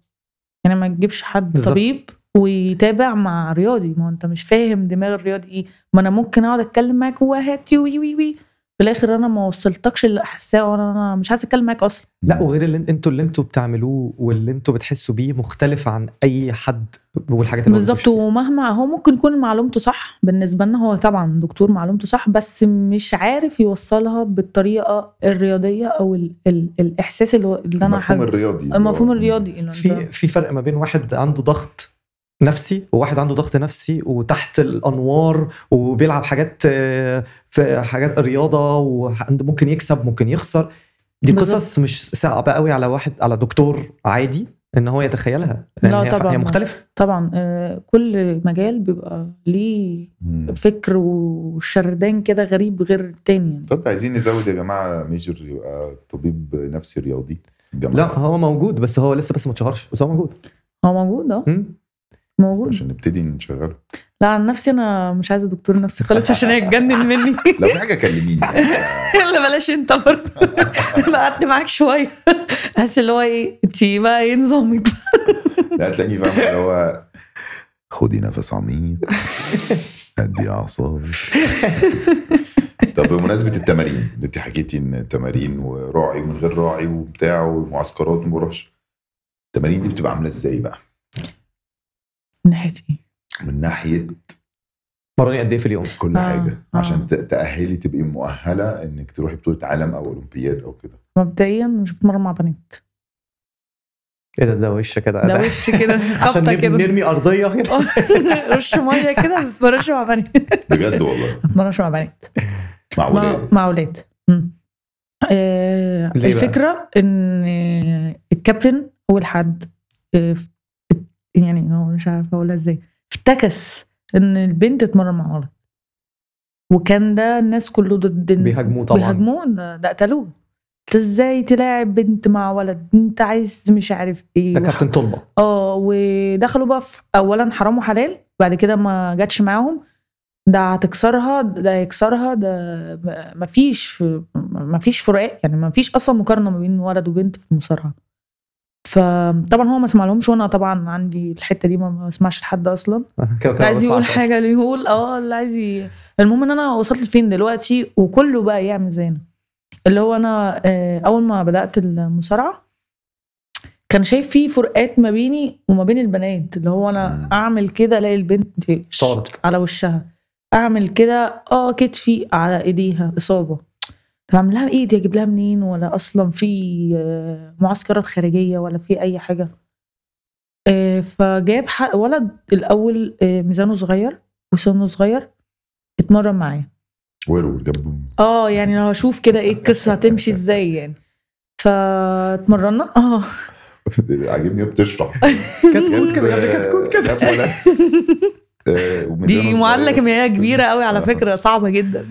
يعني ما تجيبش حد
بالظبط.
طبيب ويتابع مع رياضي ما هو انت مش فاهم دماغ الرياضي ايه ما انا ممكن اقعد اتكلم معاك وهات وي وي وي في الاخر انا ما وصلتكش اللي احساه وانا انا مش عايزه اتكلم معاك اصلا
لا وغير اللي انتوا اللي انتوا بتعملوه واللي انتوا بتحسوا بيه مختلف عن اي حد والحاجات اللي هو
بالظبط
بيخش فيها.
ومهما هو ممكن يكون معلومته صح بالنسبه لنا هو طبعا دكتور معلومته صح بس مش عارف يوصلها بالطريقه الرياضيه او ال... ال... الاحساس اللي, هو- اللي انا
المفهوم
حابب-
الرياضي
المفهوم الرياضي اللي
في
انت-
في فرق ما بين واحد عنده ضغط نفسي وواحد عنده ضغط نفسي وتحت الانوار وبيلعب حاجات آه، في حاجات رياضه وممكن يكسب ممكن يخسر دي
بالظبط.
قصص مش صعبه قوي على واحد على دكتور عادي ان هو يتخيلها لان
لا
هي,
طبعاً.
هي مختلفه
طبعا آه، كل مجال بيبقى ليه
مم.
فكر وشردان كده غريب غير التاني يعني
طب عايزين نزود يا جماعة ميجر يبقى طبيب نفسي رياضي جامعة
لا هو موجود بس هو لسه بس ما اتشهرش بس هو موجود
هو موجود اه
مم؟
موجود
عشان نبتدي نشغله
لا عن نفسي انا مش عايزه دكتور نفسي خالص عشان هيتجنن مني [laughs]
لو في حاجة كلميني
لا بلاش انت برضه بقى قعدت معاك [laughs] شويه حاسس اللي هو ايه انت بقى ايه نظامك [laughs]
لا هتلاقيني فاهم اللي هو خدي نفس عميق هدي اعصابك طب بمناسبة التمارين انت حكيتي ان تمارين وراعي ومن غير راعي وبتاع ومعسكرات وما بروحش التمارين دي بتبقى عاملة ازاي بقى؟
من ناحيه ايه
من ناحية
مرني قد ايه في اليوم
كل
آه،
حاجه
آه.
عشان ت- تاهلي تبقي مؤهله انك تروحي بطوله عالم او اولمبياد او كده
مبدئيا مش بتمرن مع بنات
ايه ده ده وش كده
ده وش كده
عشان
خبطه
نب-
كده
نرمي ارضيه كده
[laughs] رش ميه كده ما بتمرنش مع بنات ما
بجد
[laughs]
والله
بتمرنش مع بنات
مع
مع [laughs]
ولاد
مع اولاد مم. آه
ليه بقى؟
الفكره ان آه، الكابتن اول حد آه، ف- يعني هو مش عارفه اقولها ازاي افتكس ان البنت تتمرن مع ولد وكان ده الناس كله ضد إن-
بيهاجموه طبعا
بيهاجموه ده, ده قتلوه انت ازاي تلاعب بنت مع ولد انت عايز مش عارف ايه
ده
وح-
كابتن طلبه
اه ودخلوا بقى في اولا حرام وحلال بعد كده ما جاتش معاهم ده هتكسرها ده هيكسرها ده م- مفيش مفيش فروقات يعني مفيش اصلا مقارنه ما بين ولد وبنت في المصارعه فطبعا هو ما سمع لهمش وانا طبعا عندي الحته دي ما ما بسمعش لحد اصلا
أنا كده
اللي
كده
عايز
بسمع
يقول
أصلاً.
حاجه اللي يقول اه اللي عايز ي... المهم ان انا وصلت لفين دلوقتي وكله بقى يعمل زينا اللي هو انا آه، اول ما بدات المصارعه كان شايف في فروقات ما بيني وما بين البنات اللي هو انا
مم.
اعمل كده الاقي البنت دي ش-
طارت.
على وشها اعمل كده اه كتفي على ايديها اصابه طب اعمل لها ايه دي اجيب لها منين ولا اصلا في آه، معسكرات خارجيه ولا في اي حاجه آه، فجاب حق ولد الاول آه، ميزانه صغير وسنه صغير اتمرن معايا
ويرو جنب
اه يعني لو هشوف كده ايه القصه هتمشي ازاي يعني فاتمرنا اه
[laughs] عاجبني
[laughs]
بتشرح
كتكوت كده يعني كتكوت كده
جاب ولد، آه، وميزانه
دي
صغير.
معادله كيميائيه كبيره قوي على
آه.
فكره صعبه جدا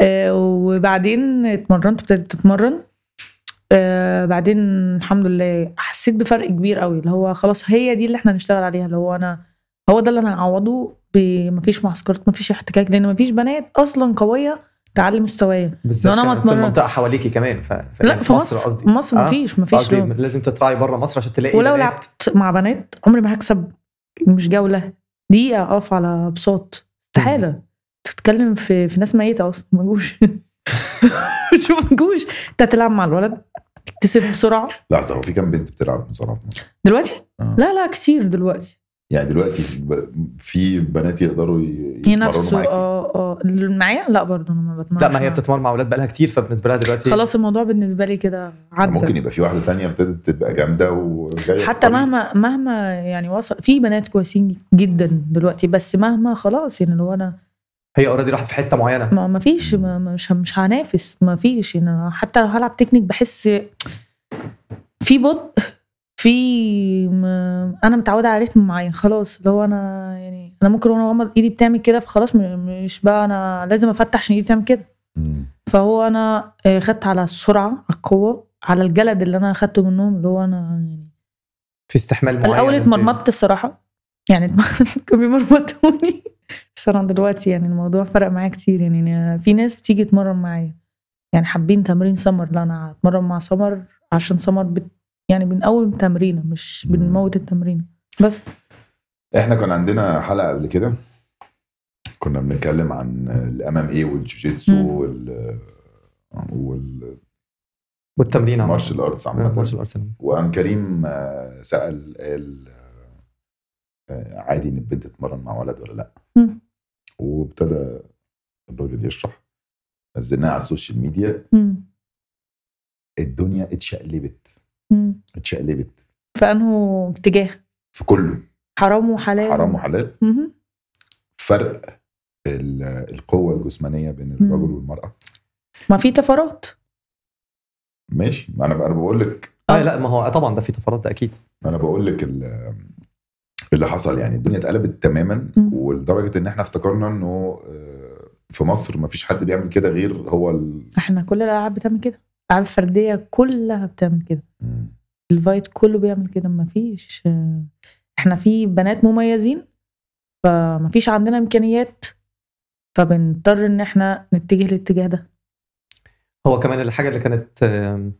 آه، وبعدين اتمرنت ابتديت اتمرن آه، بعدين الحمد لله حسيت بفرق كبير قوي اللي هو خلاص هي دي اللي احنا هنشتغل عليها اللي هو انا هو ده اللي انا هعوضه بمفيش معسكرات مفيش احتكاك لان مفيش بنات اصلا قويه تعلي مستوايا
بالذات
لو أنا ما
كمان في
أتمرن-
المنطقه حواليكي كمان ف... ف-
لا في مصر
قصدي
مصر
آه،
مفيش مفيش
قصدي
لو-
لازم تتراعي بره مصر عشان
إيه
تلاقي
ولو
بنات.
لعبت مع بنات عمري ما هكسب مش جوله دقيقه اقف على بساط استحاله تتكلم في في ناس ميته اصلا ما جوش [laughs] شو ما جوش انت هتلعب مع الولد تكتسب بسرعه
لحظه هو في كام بنت بتلعب مصارعه في مصر؟
دلوقتي
آه.
لا لا كتير دلوقتي
يعني دلوقتي ب- في بنات يقدروا ي- يتمرنوا
ينافسوا
معاكي
اه اه اللي معايا لا برضه انا ما بتمرنش
لا ما هي
معاهم.
بتتمرن مع اولاد بقالها كتير فبالنسبه لها دلوقتي
خلاص الموضوع بالنسبه لي كده
يعني ممكن
عدى
يبقى في واحده تانية ابتدت تبقى جامده وجايه
حتى مهما مهما يعني وصل في بنات كويسين جدا دلوقتي بس مهما خلاص يعني لو انا
هي اوريدي راحت في حته معينه
ما ما فيش ما ما- مش مش هنافس ما فيش يعني أنا حتى لو هلعب تكنيك بحس في بطء في م... انا متعوده على رتم معين خلاص اللي هو انا يعني انا ممكن وانا بغمض ايدي بتعمل كده فخلاص م- مش بقى انا لازم افتح عشان ايدي تعمل كده
مم.
فهو انا آه، خدت على السرعه على القوه على الجلد اللي انا اخدته منهم اللي هو انا يعني
في استحمال معين
الاول
أنت-
اتمرمطت الصراحه يعني [laughs] كانوا بيمرمطوني [laughs] بس انا دلوقتي يعني الموضوع فرق معايا كتير يعني أنا في ناس بتيجي تمرن معايا يعني حابين تمرين سمر لا انا هتمرن مع سمر عشان سمر بت يعني من اول تمرينه مش بنموت التمرين بس
احنا كان عندنا حلقه قبل كده كنا بنتكلم عن الام ام اي والجوجيتسو
مم.
وال والمارشال
والتمرين
نعم.
عامة.
ارتس
آه،
عامه
مارشال ارتس
وقام كريم آه، سال قال آه، عادي ان البنت تتمرن مع ولد ولا لا
مم.
وابتدى الراجل يشرح نزلناها على السوشيال ميديا
مم.
الدنيا اتشقلبت
مم.
اتشقلبت
فانه اتجاه
في كله
حرام وحلال
حرام وحلال
مهم.
فرق ال- القوه الجسمانيه بين
مم.
الرجل والمراه
ما في طفرات
ماشي ما انا انا بقول لك
آه.
اه لا ما هو طبعا ده في طفرات ده اكيد
ما انا بقول لك ال- اللي حصل يعني الدنيا اتقلبت تماما
مم.
ولدرجه ان احنا افتكرنا انه آه، في مصر ما فيش حد بيعمل كده غير هو ال...
احنا كل الالعاب بتعمل كده الالعاب الفرديه كلها بتعمل كده
مم.
الفايت كله بيعمل كده ما فيش احنا في بنات مميزين فما فيش عندنا امكانيات فبنضطر ان احنا نتجه للاتجاه ده
هو كمان الحاجه اللي كانت آم،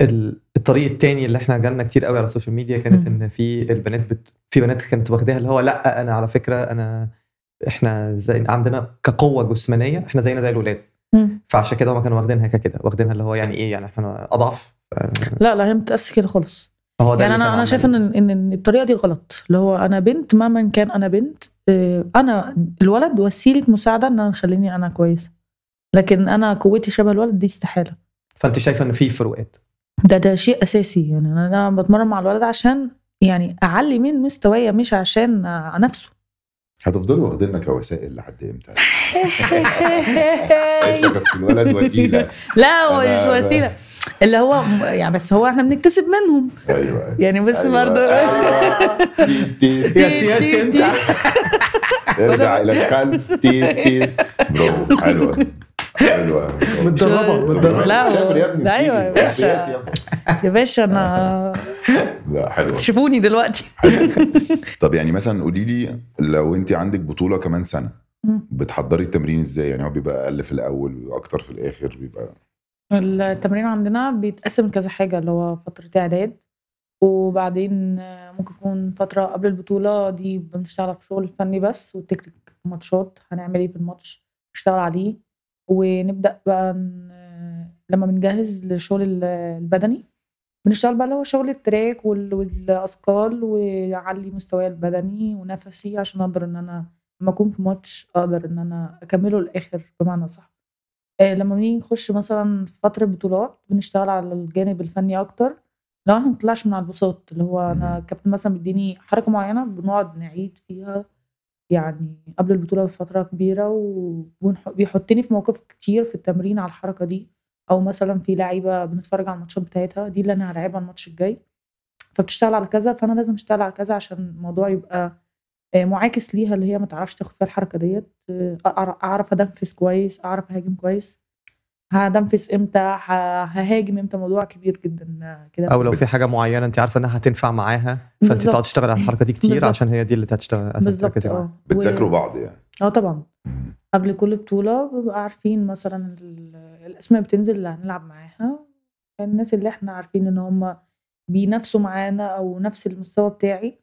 ال- الطريق التاني اللي احنا جالنا كتير قوي على السوشيال ميديا كانت
مم.
ان في البنات بت... في بنات كانت واخداها اللي هو لا انا على فكره انا احنا زي عندنا كقوه جسمانيه احنا زينا زي الولاد فعشان كده هم كانوا واخدينها ككده واخدينها اللي هو يعني ايه يعني احنا اضعف
لا لا هي متقاس كده خالص
فهو ده اللي كان
يعني انا انا
عمال-
شايفه ان ان إن الطريقه دي غلط اللي هو انا بنت مهما كان انا بنت آه، انا الولد وسيله مساعده ان انا خليني انا كويسه لكن انا قوتي شبه الولد دي استحاله
فانت شايفه ان في فروقات
ده ده شيء اساسي يعني انا أنا بتمرن مع الولد عشان يعني اعلي من مستوايا مش عشان آه، نفسه
هتفضلوا واخديننا كوسائل لحد امتى؟
أيوة. [laughs]
قالت لك بس الولد وسيله
لا هو
أنا-
مش وسيله اللي هو يعني بس هو احنا بنكتسب منهم
ايوه
يعني بس
أيوة،
[laughs] برضه
أيوة. تي- تي- تي.
[laughs] يا سياسي انت
ارجع الى الخلف
[laughs]
تي- تي. برافو حلوه
[laughs]
حلوه برافو.
متدربه متدربه
لا، هو-
سافر يا ابني
أيوة يا
تيجي.
باشا.
وحياة يا ابني.
يا باشا انا
لا حلوه
شوفوني دلوقتي [laughs]
طب يعني مثلا قولي لي لو انت عندك بطوله كمان سنه
مم.
بتحضري التمرين ازاي يعني هو بيبقى اقل في الاول بيبقى اكتر في الاخر بيبقى
التمرين عندنا بيتقسم كذا حاجه اللي هو فتره اعداد وبعدين آه، ممكن يكون فتره قبل البطوله دي بنشتغل على الشغل الفني بس والتكنيك ماتشات هنعمل ايه في الماتش نشتغل عليه ونبدا بقى ن- آه، لما بنجهز للشغل ال- البدني بنشتغل بقى اللي هو شغل التراك وال- والاثقال واعلي مستواي البدني ونفسي عشان اقدر ان انا لما اكون في ماتش اقدر ان انا اكمله للاخر بمعنى صح آه، لما بنيجي نخش مثلا في فترة بطولات بنشتغل على الجانب الفني أكتر لو احنا مطلعش من على البساط اللي هو أنا
مم.
الكابتن مثلا بيديني حركة معينة بنقعد نعيد فيها يعني قبل البطولة بفترة كبيرة وبيحطني في مواقف كتير في التمرين على الحركة دي أو مثلا في لعيبة بنتفرج على الماتشات بتاعتها دي اللي أنا هلعبها الماتش الجاي فبتشتغل على كذا فأنا لازم أشتغل على كذا عشان الموضوع يبقى آه، معاكس ليها اللي هي ما تعرفش تاخد فيها الحركة ديت آه، أعر- أعرف أدنفس كويس أعرف أهاجم كويس هدنفس امتى ه- ههاجم امتى موضوع كبير جدا آه، كده
او لو في حاجه معينه انت عارفه انها هتنفع معاها فانت
بالظبط.
تقعد تشتغل على الحركه دي كتير
بالظبط.
عشان هي دي اللي هتشتغل عشان
بالظبط
تركزي معاها.
اه و-
بتذاكروا بعض يعني
اه طبعا
مم.
قبل كل بطولة بنبقى عارفين مثلا ال- الأسماء بتنزل اللي هنلعب معاها الناس اللي احنا عارفين ان هم بينافسوا معانا أو نفس المستوى بتاعي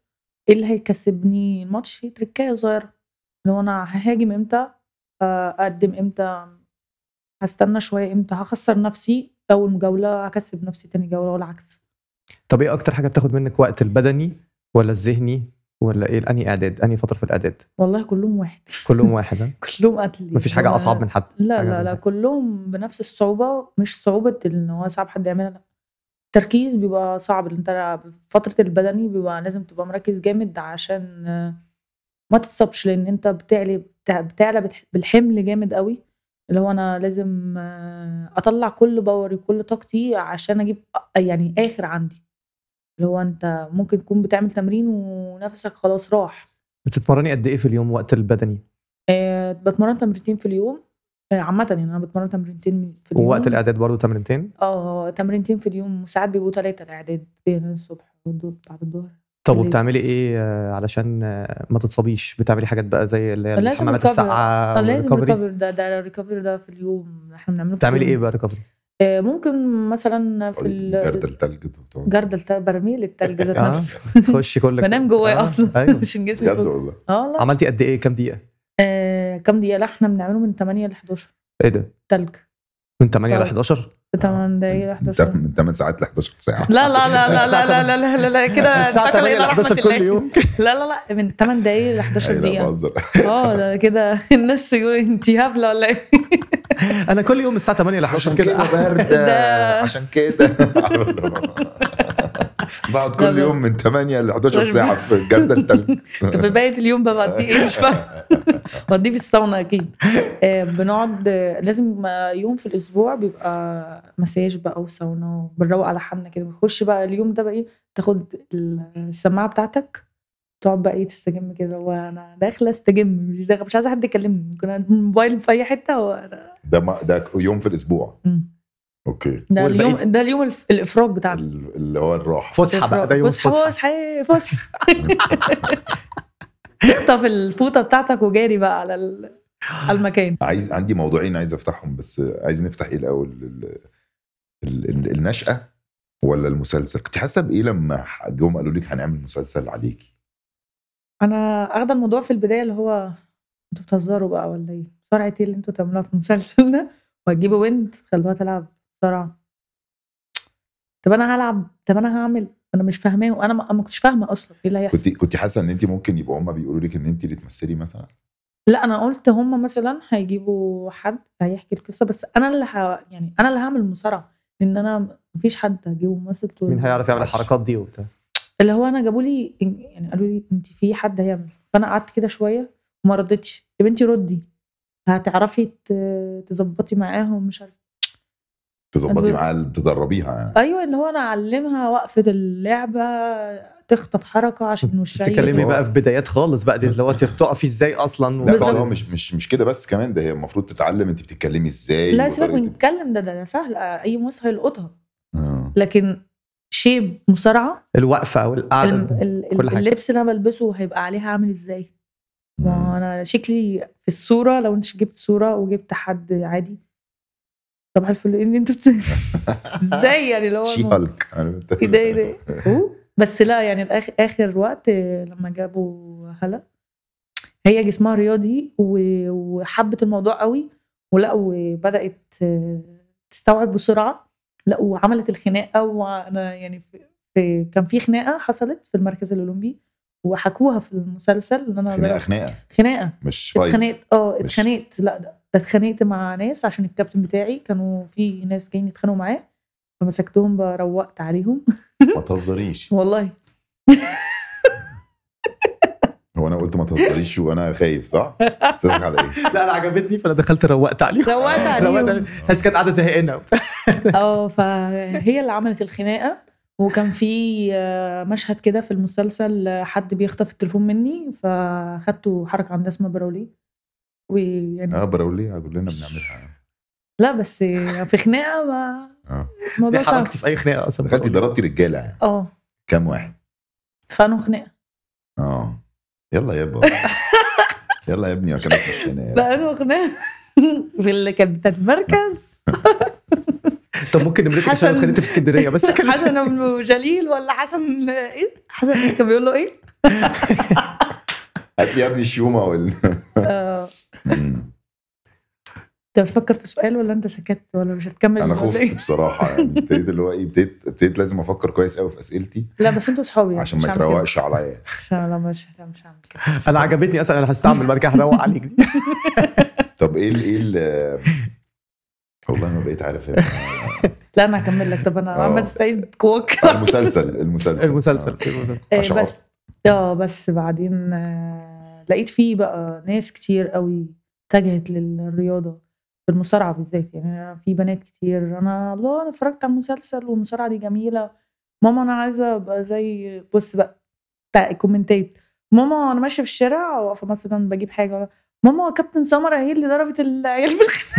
ايه اللي هيكسبني الماتش هي تركاية صغيرة لو أنا ههاجم امتى آه، أقدم امتى هستنى شوية امتى هخسر نفسي أول جولة هكسب نفسي تاني جولة والعكس
طب ايه اكتر حاجه بتاخد منك وقت البدني ولا الذهني ولا ايه انهي اعداد انهي فتره في الاعداد
والله كلهم واحد [laughs]
كلهم واحد ها؟
كلهم قتل
مفيش حاجه
هو-
اصعب من حد
لا
حاجة
لا
من
لا
حد.
كلهم بنفس الصعوبة مش صعوبة ان هو صعب حد يعملها لا التركيز بيبقى صعب لأن انت فترة البدني بيبقى لازم تبقى مركز جامد عشان آه، ما تتصابش لان انت بتعلي بتع- بتعلى بتح- بالحمل جامد قوي اللي هو انا لازم آه، اطلع كل باوري كل طاقتي عشان اجيب أ- يعني اخر عندي اللي هو انت ممكن تكون بتعمل تمرين ونفسك خلاص راح
بتتمرني قد ايه في اليوم وقت البدني
آه، بتمرن تمرينتين في اليوم آه، عامة يعني انا بتمرن تمرينتين في اليوم
ووقت الاعداد برضو تمرينتين
اه تمرينتين في اليوم وساعات بيبقوا ثلاثة الاعداد يعني الصبح والظهر بعد الظهر
طب
بالليل.
وبتعملي ايه آه، علشان آه، ما تتصابيش بتعملي حاجات بقى زي اللي هي
لازم
الحمامات
recover.
الساقعه
آه، لازم
والريكفري؟
الريكفري ده ده الريكفري ده في اليوم احنا بنعمله في
بتعملي ايه
اليوم.
بقى ريكفري
آه، ممكن مثلا في
جرد
ال
التلج ده بتقعد-
جرد الت-
[laughs]
برميل التلج ده
آه.
نفسه
تخشي كل
[laughs] بنام جواه
آه،
اصلا [laughs]
ايوه
مش إن جسمي
بجد
يفك.
والله
اه والله
عملتي قد ايه كام دقيقه
آه، كام دقيقة لا احنا بنعمله من 8 ل 11
ايه ده
تلج
من 8 ل
طب.
11
8 دقايق ل 11
من 8 ساعات ل 11
[laughs]
ساعه
لا لا لا لا لا لا لا لا لا, لا كده
الساعه
انتقل
8 ل
الى إيه رحمة
11 كل
الله
يوم [laughs]
لا لا لا من 8 دقايق ل 11
أي لا،
دقيقة
بهزر
اه ده كده [laughs] الناس يقولوا انت هبلة ولا ايه
انا كل يوم الساعه 8 ل 11
عشان
كده
كده [laughs] برده
[laughs] ده-
عشان كده [laughs] بقعد
لا،
كل
لا.
يوم من 8 ل 11 ساعه في جرد التلج
[laughs] طب بقية اليوم بقى بقضيه ايه مش فاهمة بقضيه في الساونا اكيد آه، بنقعد آه، لازم آه، يوم في الاسبوع بيبقى مساج بقى وساونا وبنروق على حالنا كده بنخش بقى اليوم ده بقى ايه تاخد السماعة بتاعتك تقعد بقى ايه تستجم كده هو انا داخله استجم مش داخله مش عايزه حد يكلمني ممكن الموبايل في اي حته وانا
[laughs] ده ما ده يوم في الاسبوع اوكي
ده
والبقية-
اليوم ده اليوم الف- الافراج بتاعنا
ال- اللي هو الراحه
فسحه بقى ده يوم
فسحه
فسحه
فسحه إيه، فسحه [laughs] اخطف الفوطه بتاعتك وجاري بقى على ال- على المكان
عايز عندي موضوعين عايز افتحهم بس عايز نفتح ايه الاول ال- ال- ال- النشأة ولا المسلسل كنت حاسه بايه لما جم قالوا لك هنعمل مسلسل عليكي
انا اخده الموضوع في البدايه اللي هو انتوا بتهزروا بقى ولا ايه سرعه ايه اللي انتوا تعملوها في المسلسل ده وهتجيبوا بنت تخلوها تلعب بسرعه طب انا هلعب طب انا هعمل انا مش فاهماه وانا ما ما كنتش فاهمه اصلا ايه اللي هيحصل
كنت كنت حاسه ان انت ممكن يبقوا هم بيقولوا لك ان انت اللي تمثلي مثلا
لا انا قلت هم مثلا هيجيبوا حد هيحكي القصه بس انا اللي ه... يعني انا اللي هعمل المصارعه لان انا مفيش حد هجيبه ممثل تقول-
مين هيعرف يعمل
معلش.
الحركات دي وبتاع
اللي هو انا جابوا لي يعني قالوا لي انت في حد هيعمل فانا قعدت كده شويه وما ردتش يا بنتي ردي هتعرفي ت- تظبطي معاهم مش عارفه
تظبطي
أنا-
معاها تدربيها يعني
ايوه اللي هو انا اعلمها وقفه اللعبه تخطف حركه
[laughs]
عشان مش
تتكلمي
بس هو-
بقى في بدايات خالص بقى دي اللي هو انت بتقفي ازاي اصلا
لا بس
بالظبط.
هو مش مش مش كده بس كمان ده هي المفروض تتعلم انت بتتكلمي ازاي
لا سيبك من
وطريقة-
الكلام ده ده ده سهل اي مصري هيلقطها
آه.
لكن شيب مصارعه
الوقفه او
الم-
القعده
ال-
كل
ال-
حاجة.
اللبس اللي انا بلبسه هيبقى عليها عامل ازاي ما انا شكلي في الصوره لو انت جبت صوره وجبت حد عادي صباح الفل ان انت بت... [laughs] ازاي
[laughs]
يعني اللي هو
شي
الم-
هالك عارف
[laughs]
انت؟
ايه ده ايه
[laughs]
ده أوه. بس لا يعني اخر اخر وقت آه، لما جابوا هلا هي جسمها رياضي و- وحبت الموضوع قوي ولا وبدات آه، تستوعب بسرعه لا وعملت الخناقه وانا يعني في- في كان في خناقه حصلت في المركز الاولمبي وحكوها في المسلسل ان انا
خناقه
ضربت-
خناقه
خناقه
مش فايت
اتخانقت اه
مش-
اتخانقت لا ده ده اتخانقت مع ناس عشان الكابتن بتاعي كانوا في ناس جايين يتخانقوا معاه فمسكتهم بقى روقت عليهم [laughs]
ما تهزريش
والله
هو انا قلت ما تهزريش وانا خايف
[laughs]
صح؟ بتضحك على ايه؟
لا انا عجبتني فانا دخلت روقت عليهم
روقت
آه،
روقت
عليهم [laughs]
عليهم. حاسس كانت قاعده زهقانه وبتاع.
اه فهي اللي عملت الخناقه وكان في آه، مشهد كده في المسلسل آه، حد بيخطف التليفون مني فاخدته حركه عند اسماء براولي ويعني
اه براوليه كلنا بنعملها
يعني لا بس آه، في خناقه ما
اه
دي
الموضوع صعب
حركتي في اي خناقه اصلا
دخلتي ضربتي رجاله يعني
اه
كام واحد؟
خانوا خناقه
اه يلا يابا يلا يا ابني كانت مشينا يعني.
بقى له خناقه [laughs] في اللي كانت بتاعت المركز
طب ممكن نمرتك عشان
حسن-
اتخانقت في اسكندريه بس كان
حسن ابن جليل ولا حسن ايه حسن كان بيقول له
[laughs]
ايه
هات لي يا ابني الشيومه وال
آه،
مم.
انت بتفكر في سؤال ولا انت سكت ولا مش هتكمل
انا
ولا إيه؟
خفت بصراحه يعني ابتديت اللي هو ايه ابتديت ابتديت لازم افكر كويس قوي في اسئلتي
لا بس يعني، انتوا صحابي
عشان ما يتروقش عليا
لا مش هت- مش هعمل كده
انا عجبتني اصلا انا هستعمل بعد كده هروق عليك دي
[laughs]
طب ايه ال- ايه ال- والله ما بقيت عارف إيه.
لا انا هكمل لك طب انا
آه.
عمال استعيد كوك
آه،
[laughs]
المسلسل المسلسل
المسلسل
آه.
المسلسل.
آه،
عشان
بس اه بس بعدين آه، لقيت فيه بقى ناس كتير قوي اتجهت للرياضه في المصارعه بالذات يعني أنا في بنات كتير انا الله انا اتفرجت على المسلسل والمصارعه دي جميله ماما انا عايزه ابقى زي بص بقى بتاع الكومنتات ماما انا ماشيه في الشارع واقفه مثلا بجيب حاجه ماما كابتن سمر اهي اللي ضربت العيال بالخ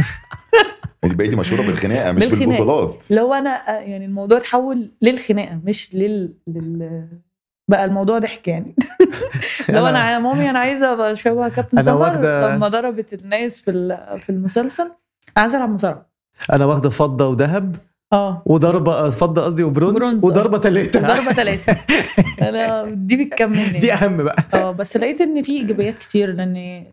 انت بقيتي مشهوره بالخناقه مش
بالخناقة.
بالبطولات
لو انا يعني الموضوع اتحول للخناقه مش لل, لل... بقى الموضوع
[laughs]
ضحك يعني لو انا يا مامي انا عايزه ابقى شبه كابتن
أنا
سمر
واخدة-
لما ضربت الناس في ال- في المسلسل عايزه العب مصارعه
انا واخده فضه وذهب آه.
[laughs] اه
وضربه فضه قصدي وبرونز
برونز،
وضربه [laughs] ثلاثه
ضربه ثلاثه انا دي بتكمل يعني.
دي اهم بقى
اه بس لقيت ان في ايجابيات كتير لان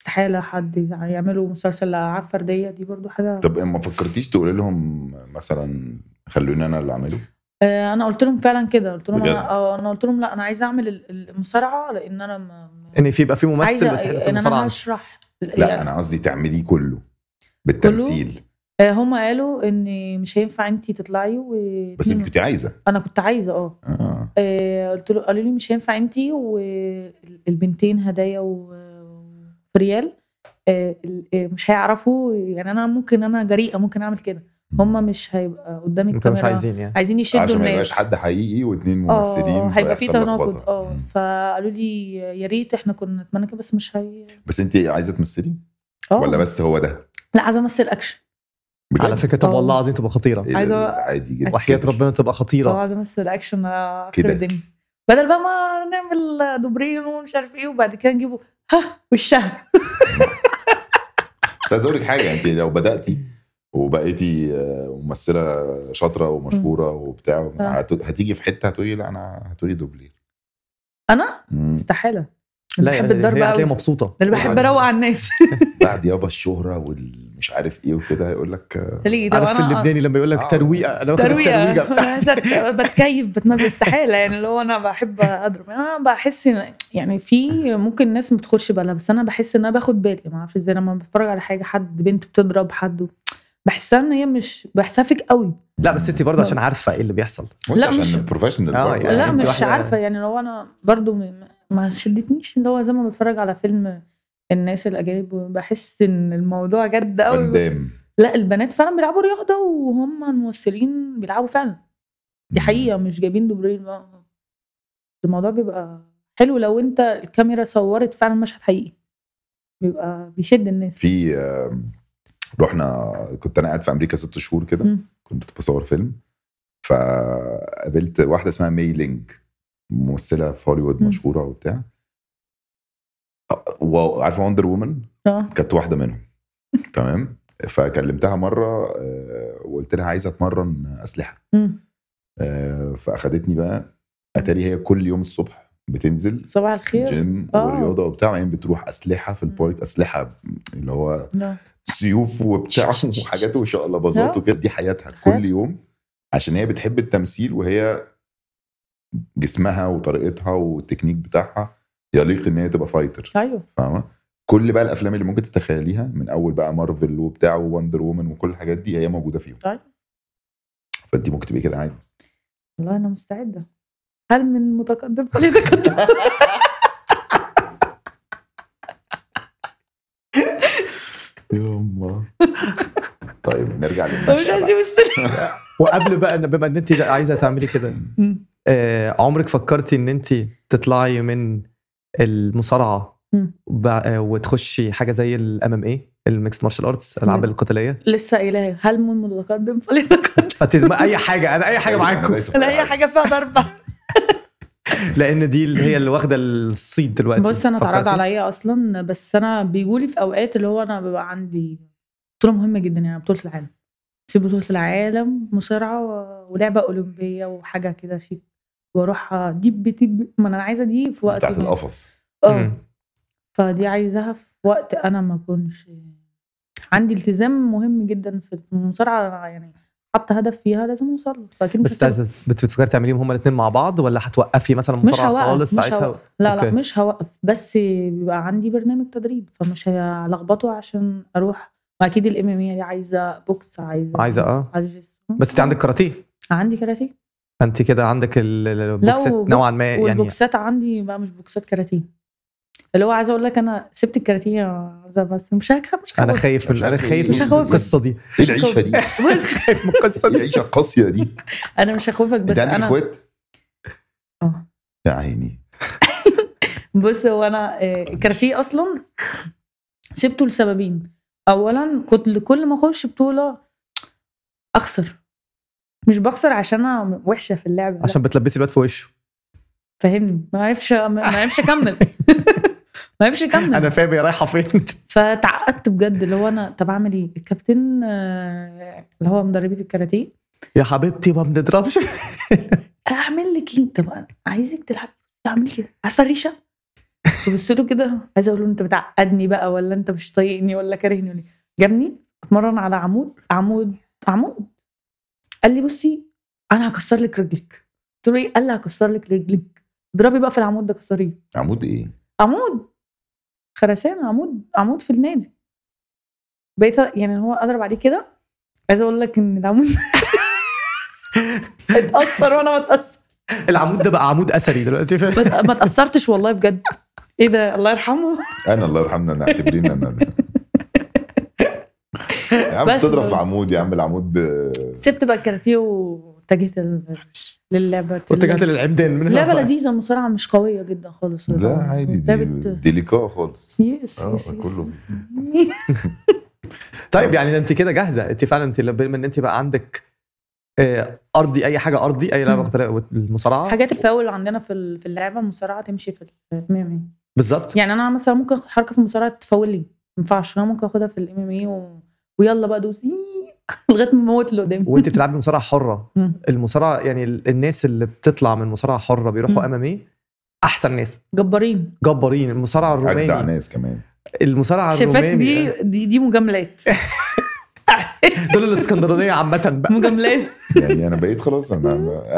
استحاله حد يعملوا مسلسل العاب فرديه دي برضو حاجه
طب ما فكرتيش تقولي لهم مثلا خلوني انا اللي اعمله
آه انا قلت لهم فعلا كده قلت لهم
بجد؟
انا اه انا قلت لهم لا انا عايزه اعمل ال- المصارعه لان انا ما ما-
ان في يبقى في ممثل بس
عايزه
حته
ان انا
المصارعه
هشرح يعني.
لا انا قصدي تعمليه كله بالتمثيل
آه هم قالوا ان مش هينفع انت تطلعي و
بس انت كنت عايزه
انا كنت عايزه اه
اه
آه، قلت له قالوا لي مش هينفع انت والبنتين هدايا و- وريال آه، ال- آه، مش هيعرفوا يعني انا ممكن انا جريئه ممكن اعمل كده هم مش هيبقى قدام
انتوا
الكاميرا
مش عايزين يعني
عايزين يشدوا
عشان ما يبقاش
الناس
حد حقيقي واثنين
اه
ممثلين
هيبقى في
فيحصل
تناقض
لخبطة.
اه
مم.
فقالوا لي يا ريت احنا كنا نتمنى كده بس مش هي
بس انت عايزه تمثلي
اه
ولا بس هو ده
لا عايزه امثل اكشن
بجد؟
على فكره طب
اه.
والله العظيم تبقى خطيره
إيه ده؟
عايزة-
عادي جدا
وحياه ربنا تبقى
اه
خطيره
عايزه امثل اكشن آه،
كده.
اخر الدنيا بدل بقى ما نعمل دوبرين ومش عارف ايه وبعد كده نجيبه ها وشها
بس عايز اقول لك حاجه انت لو بداتي وبقيتي آه، ممثله شاطره ومشهوره وبتاع
آه.
هت- هتيجي في حته هتقولي لا انا هتقولي دوبلير
انا
مم.
استحاله
لا
لا بحب
يعني
الضرب
هي هتلاقيها
قوي
مبسوطه
ده انا بحب اروق على
[laughs]
الناس [laughs]
بعد يابا الشهره والمش عارف ايه وكده هيقول لك آه،
ليه ده
عارف
[laughs] انا
اللبناني لما يقول لك
اه.
ترويقه انا واخد الترويقه
ترويقه
بتاعتي.
أنا عايزة بتكيف بتمثل استحاله يعني اللي هو انا بحب اضرب انا بحس إن- يعني في ممكن ناس ما تاخدش بالها بس انا بحس ان انا باخد بالي ما اعرفش ازاي لما بتفرج على حاجه حد بنت بتضرب حد بحسها ان هي مش بحسها فيك قوي
لا بس انت برضه عشان عارفه ايه اللي بيحصل
وانت
لا، مش- آه،
عشان بروفيشنال
اه،
برضه
يعني
لا
انت
مش
واحدة-
عارفه يعني لو انا برضو م- ما شدتنيش اللي هو زي ما بتفرج على فيلم الناس الاجانب بحس ان الموضوع جد قوي
فندام
لا البنات فعلا بيلعبوا رياضه وهم الممثلين بيلعبوا فعلا دي حقيقه مش جايبين دوبرين بقى الموضوع بيبقى حلو لو انت الكاميرا صورت فعلا مشهد حقيقي بيبقى بيشد الناس
في آه، رحنا كنت انا قاعد في امريكا ست شهور كده
مم.
كنت بصور فيلم فقابلت واحده اسمها مي لينج ممثله في هوليوود
مم.
مشهوره وبتاع آه، وعارفه وندر وومن
اه
كانت واحده
[laughs]
منهم تمام فكلمتها مره آه، وقلت لها عايزه اتمرن اسلحه
مم.
آه، فاخدتني بقى اتاري هي كل يوم الصبح بتنزل
صباح الخير
جيم
آه.
ورياضه وبتاع وبعدين بتروح اسلحه في البارك اسلحه اللي هو
لا.
سيوف
[laughs]
وبتاع
ش- ش- ش-
وحاجات وشقلباظات
آه.
وكده دي حياتها
حياتها.
كل يوم عشان هي بتحب التمثيل وهي جسمها وطريقتها والتكنيك بتاعها يليق ان هي تبقى فايتر
ايوه
فاهمه كل بقى الافلام اللي ممكن تتخيليها من اول بقى مارفل وبتاع ووندر وومن وكل الحاجات دي هي موجوده فيهم
طيب.
فانت ممكن تبقي كده عادي
والله انا مستعده هل من متقدم [laughs] لتقدم
يما طيب نرجع
مش
للمشهد
عايز يمثل
[laughs] وقبل بقى إن- بما ان انت عايزه تعملي كده آه، عمرك فكرتي ان انت تطلعي من المصارعه
مم.
بع- آه، وتخشي حاجه زي الام ام اي الميكس مارشال ارتس الالعاب
مم.
القتاليه
لسه قايلها هل من متقدم [laughs] فليتقدم
فتدم اي حاجه انا اي حاجه معاكم
لا اي حاجه فيها ضربه
لان دي اللي هي اللي واخده الصيت دلوقتي
بص انا اتعرض
فكرتي؟
عليا اصلا بس انا بيجولي في اوقات اللي هو انا ببقى عندي بطوله مهمه جدا يعني بطوله العالم سيب بطوله العالم مصارعه و- ولعبه اولمبيه وحاجه كده شيك واروح دب دب ما انا عايزه دي في وقت
بتاعت
ما-
القفص
اه
مم.
فدي عايزاها في وقت انا ما اكونش عندي التزام مهم جدا في المصارعه أنا يعني حاطه هدف فيها لازم اوصل له فاكيد مش
بس عايزة-
هسيبها.
بت- بتفكري تعمليهم هما الاثنين مع بعض ولا هتوقفي مثلا
مش
مصارعه
هوقف
خالص
مش
ساعتها
هوقف لا لا
أوكي.
مش هوقف بس بيبقى عندي برنامج تدريب فمش هلخبطه عشان اروح واكيد الام ام دي عايزه بوكس عايزه
عايزه اه
عايزة-
بس انت عندك كاراتيه
عندي كاراتيه
انت كده عندك ال- ال- البوكسات
وبوكس-
نوعا ما يعني
والبوكسات عندي بقى مش بوكسات كاراتيه اللي هو عايزه اقول لك انا سبت الكاراتيه عايزة بس مش هكا مش
انا
هكا-
خايف من انا خايف
مش
من
هخوفك.
القصه دي
ايه العيشه دي؟
[laughs] بص
[laughs] خايف من القصه
ايه
دي
العيشه القاسيه دي؟
انا مش هخوفك بس
انت عندك
انا
اخوات؟
اه
يا عيني
بص هو انا آه، الكاراتيه اصلا سبته لسببين اولا كنت لكل ما اخش بطوله اخسر مش بخسر عشان انا وحشه في اللعبه لا.
عشان بتلبسي الواد في وشه
فاهمني ما عرفش ما عرفش اكمل ما عرفش اكمل
انا فاهم هي رايحه فين
فتعقدت بجد اللي هو انا طب اعمل ايه الكابتن آه، اللي هو مدربي في الكاراتيه
يا حبيبتي ما بنضربش
اعمل لك ايه طب انا عايزك تلعب اعمل كده عارفه الريشه ببص له كده عايزه اقول له انت بتعقدني بقى ولا انت مش طايقني ولا كارهني ولا إيه؟ جابني اتمرن على عمود عمود عمود قال لي بصي انا هكسر لك رجلك قلت له ايه قال لي هكسر لك رجلك اضربي بقى في العمود ده كسريه
عمود ايه؟
عمود خرسانة عمود عمود في النادي بقيت يعني هو اضرب عليه كده عايزه اقول لك ان العمود [laughs] اتاثر وانا ما اتأثر-
العمود ده بقى عمود اثري دلوقتي فاهم؟
ما- ما اتاثرتش والله بجد ايه ده الله يرحمه
انا الله يرحمنا انا اعتبريني انا ده يا عم
بس
تضرب
بقى.
في عمود يا عم العمود آه،
سبت بقى الكاراتيه واتجهت لل- للعبة
واتجهت للعمدان من هنا
لعبة
بقى.
لذيذة المصارعة مش قوية جدا خالص اه،
لا عادي دي
لعبة
ديليكا خالص
يس
آه،
يس
كله.
يس.
طيب يعني ده انت كده جاهزه انت فعلا انت لما ان انت بقى عندك آه، ارضي اي حاجه ارضي اي لعبه
مم.
قتالية، المصارعه
[laughs] حاجات الفاول عندنا في ال- في اللعبة المصارعة تمشي في الام ام [laughs]
بالظبط
يعني انا مثلا ممكن اخد حركه في المصارعه تفول لي ما ينفعش انا ممكن اخدها في الام ام اي و... ويلا بقى دوس [laughs] إيه، لغايه ما اموت اللي قدامي
وانت بتلعبي مصارعه حره
مم.
المصارعه يعني ال- الناس اللي بتطلع من مصارعه حره بيروحوا
مم.
امامي احسن ناس
جبارين
جبارين المصارعه
اجدع
الروماني
ناس كمان
المصارعه
شفاك
الروماني
دي دي دي مجاملات
[laughs] دول الاسكندرانيه عامه بقى
مجاملات
يعني انا بقيت خلاص انا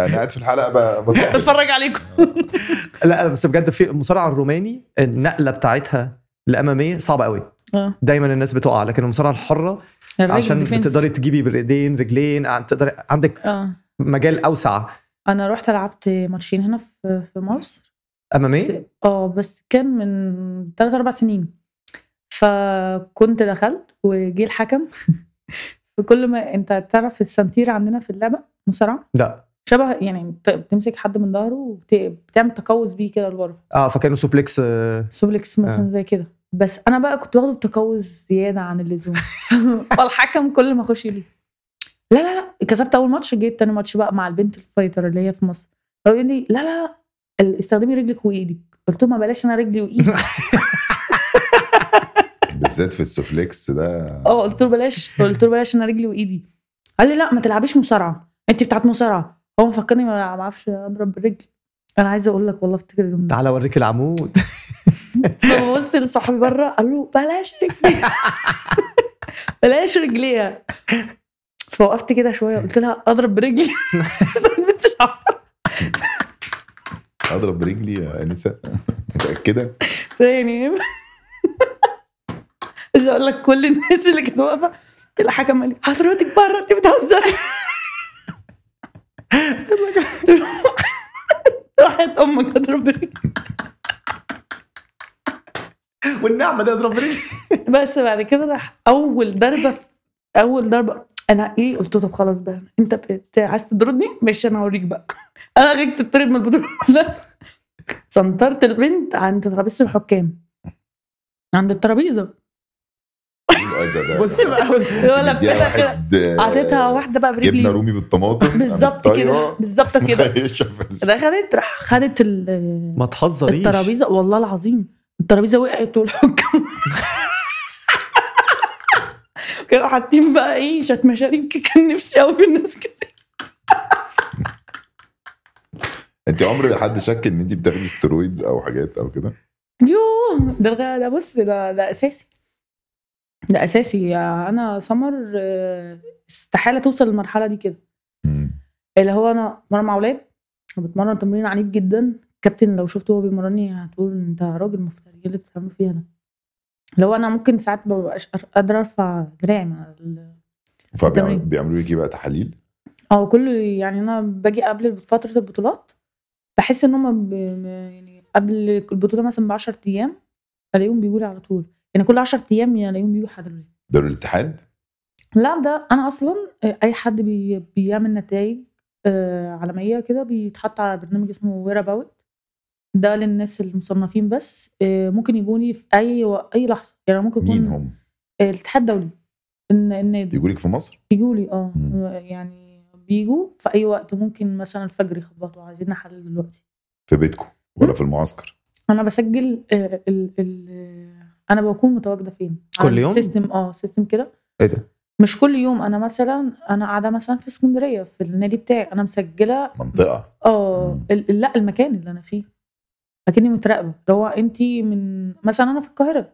انا قاعد في الحلقه بقى بتفرج
بتفرج عليكم
لا بس بجد في المصارعه الروماني النقله بتاعتها الاماميه صعبه قوي
اه
دايما الناس بتقع لكن المصارعه الحره عشان بتقدري تجيبي بالايدين رجلين ع- تقدري عندك
اه
مجال اوسع
انا رحت لعبت ماتشين هنا في في مصر
اماميه
بس- اه بس كان من 3 4 سنين فكنت دخلت وجه الحكم [laughs] فكل ما انت تعرف السنتير عندنا في اللعبه مصارعه
لا
شبه يعني بت- بتمسك حد من ظهره وبتعمل تقوس بيه كده لبره
اه فكانه سوبلكس آه،
سوبلكس مثلا
آه.
زي كده بس انا بقى كنت واخده بتقوس زياده عن اللزوم [laughs] فالحكم كل ما اخش لي لا لا لا كسبت اول ماتش جيت تاني ماتش بقى مع البنت الفايتر اللي هي في مصر فهو يقول لي لا لا لا ال- استخدمي رجلك وايدك قلت له ما بلاش انا رجلي وايدي
بالذات في السوفليكس ده
اه قلت له بلاش قلت له بلاش انا رجلي وايدي قال لي لا ما تلعبيش مصارعه انت بتاعت مصارعه هو مفكرني ما بعرفش اضرب بالرجل انا عايزه اقول لك والله افتكر اليوم ده
تعالى اوريك العمود [laughs]
فببص لصاحبي بره قال له بلاش رجلي بلاش رجليها فوقفت كده شويه قلت لها اضرب برجلي صاحبتي شعرها.
اضرب برجلي يا إيه انسه متاكده
يعني عايز اقول لك كل الناس اللي كانت واقفه الحكم قال لي حضرتك بره انت بتهزري [laughs] راحت امك اضرب برجلي
والنعمه ده اضرب رجلي
بس بعد كده راح اول ضربه في- اول ضربه انا ايه قلت له طب خلاص بقى انت بت- عايز تطردني ماشي انا هوريك بقى [laughs] انا غيرك تطرد من البطوله [laughs] لا سنطرت البنت عند ترابيزه الحكام عند الترابيزه
إيه الأذى ده؟
بص بقى
مديها
ولا لفتها كده
واحد، آه، طيب.
اعطيتها واحده بقى
جبنه
برجلي
رومي
[laughs]
بالطماطم أيوة.
بالظبط كده بالظبط [laughs]
[laughs]
كده
إيه كده
دخلت راح خدت ال-
ما تهزريش
الترابيزه والله العظيم الترابيزه وقعت والحكم [laughs] كانوا حاطين بقى ايه شات مشاريب كان نفسي قوي في الناس كده
انت عمر حد شك ان انت بتاخدي سترويدز او حاجات او كده
يوه ده الغ- ده بص ده ده اساسي ده اساسي انا سمر آه، استحاله توصل للمرحله دي كده [laughs]
مم.
اللي هو انا مرة مع اولاد بتمرن تمرين عنيف جدا الكابتن لو شفته وهو بيمرني هتقول انت راجل مفتري ايه اللي أنت بتعمله فيها ده لو انا ممكن ساعات ما ببقاش قادره ارفع دراعي من على ال- تمام.
فبيعملوا لك ايه بقى تحاليل
او كل يعني انا باجي قبل فتره البطولات بحس ان هم ب... م- يعني قبل البطوله مثلا ب 10 ايام الاقيهم بيقولوا على طول يعني كل 10 ايام الاقيهم بيجوا حضرتك
دول الاتحاد
لا ده انا اصلا آه، اي حد بي بيعمل نتائج عالميه كده بيتحط على برنامج اسمه وير اباوت ده للناس المصنفين بس آه، ممكن يجوني في اي و... اي لحظه يعني ممكن
مين
يكون
هم؟
آه، الاتحاد الدولي الن- النادي
يجوا لك في مصر؟
بيجوا لي اه
مم.
يعني بيجوا في اي وقت ممكن مثلا الفجر يخبطوا عايزين حل دلوقتي
في بيتكم ولا في المعسكر؟
انا بسجل آه، ال... ال... انا بكون متواجده فين
كل
على
يوم؟
السيستم اه سيستم كده
ايه ده؟
مش كل يوم انا مثلا انا قاعده مثلا في اسكندريه في النادي بتاعي انا مسجله
منطقه
اه
مم.
ال- لا المكان اللي انا فيه لكني متراقبه اللي هو انت من مثلا انا في القاهره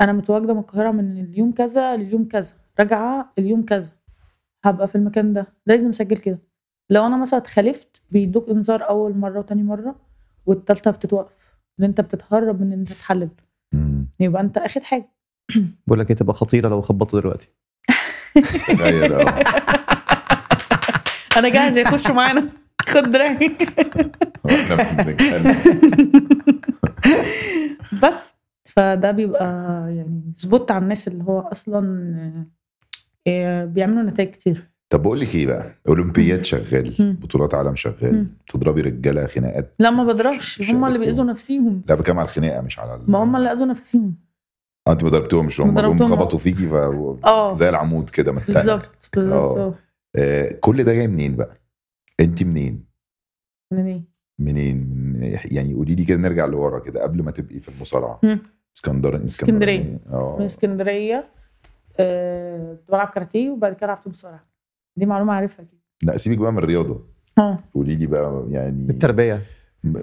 انا متواجده من القاهره من اليوم كذا لليوم كذا راجعه اليوم كذا هبقى في المكان ده لازم اسجل كده لو انا مثلا اتخالفت بيدوك انذار اول مره وتاني مره والتالته بتتوقف ان انت بتتهرب من ان انت تتحلل
مم.
يبقى انت اخد حاجه
بقول لك ايه تبقى خطيره لو خبطوا دلوقتي
تخيل اه
انا جاهزه يخشوا معانا خد دراعي
احنا بنتكلم
[laughs] بس فده بيبقى يعني سبوت على الناس اللي هو اصلا آه، بيعملوا نتائج كتير
طب بقول لك ايه بقى اولمبياد شغال
مم.
بطولات عالم شغال
مم.
تضربي رجاله خناقات
لا ما بضربش هم اللي بيأذوا نفسيهم
لا بكام على الخناقه مش على ال...
ما هم اللي أذوا نفسهم
آه، انت ما ضربتهمش هم جم
ضربتهم.
خبطوا فيكي ف...
اه
زي العمود كده من تحت.
بالظبط
آه.
بالظبط اه
آه كل ده جاي منين بقى؟ انت منين؟
من إيه؟
منين؟ من- يعني قولي لي كده نرجع لورا كده قبل ما تبقي في المصارعه
مم.
اسكندر
اسكندرية.
اسكندراني. اه
من اسكندريه آه، كنت بلعب كاراتيه وبعد كده لعبت مصارعه دي معلومه عارفها اكيد
لا سيبك بقى من الرياضه
اه
قولي لي بقى يعني
التربيه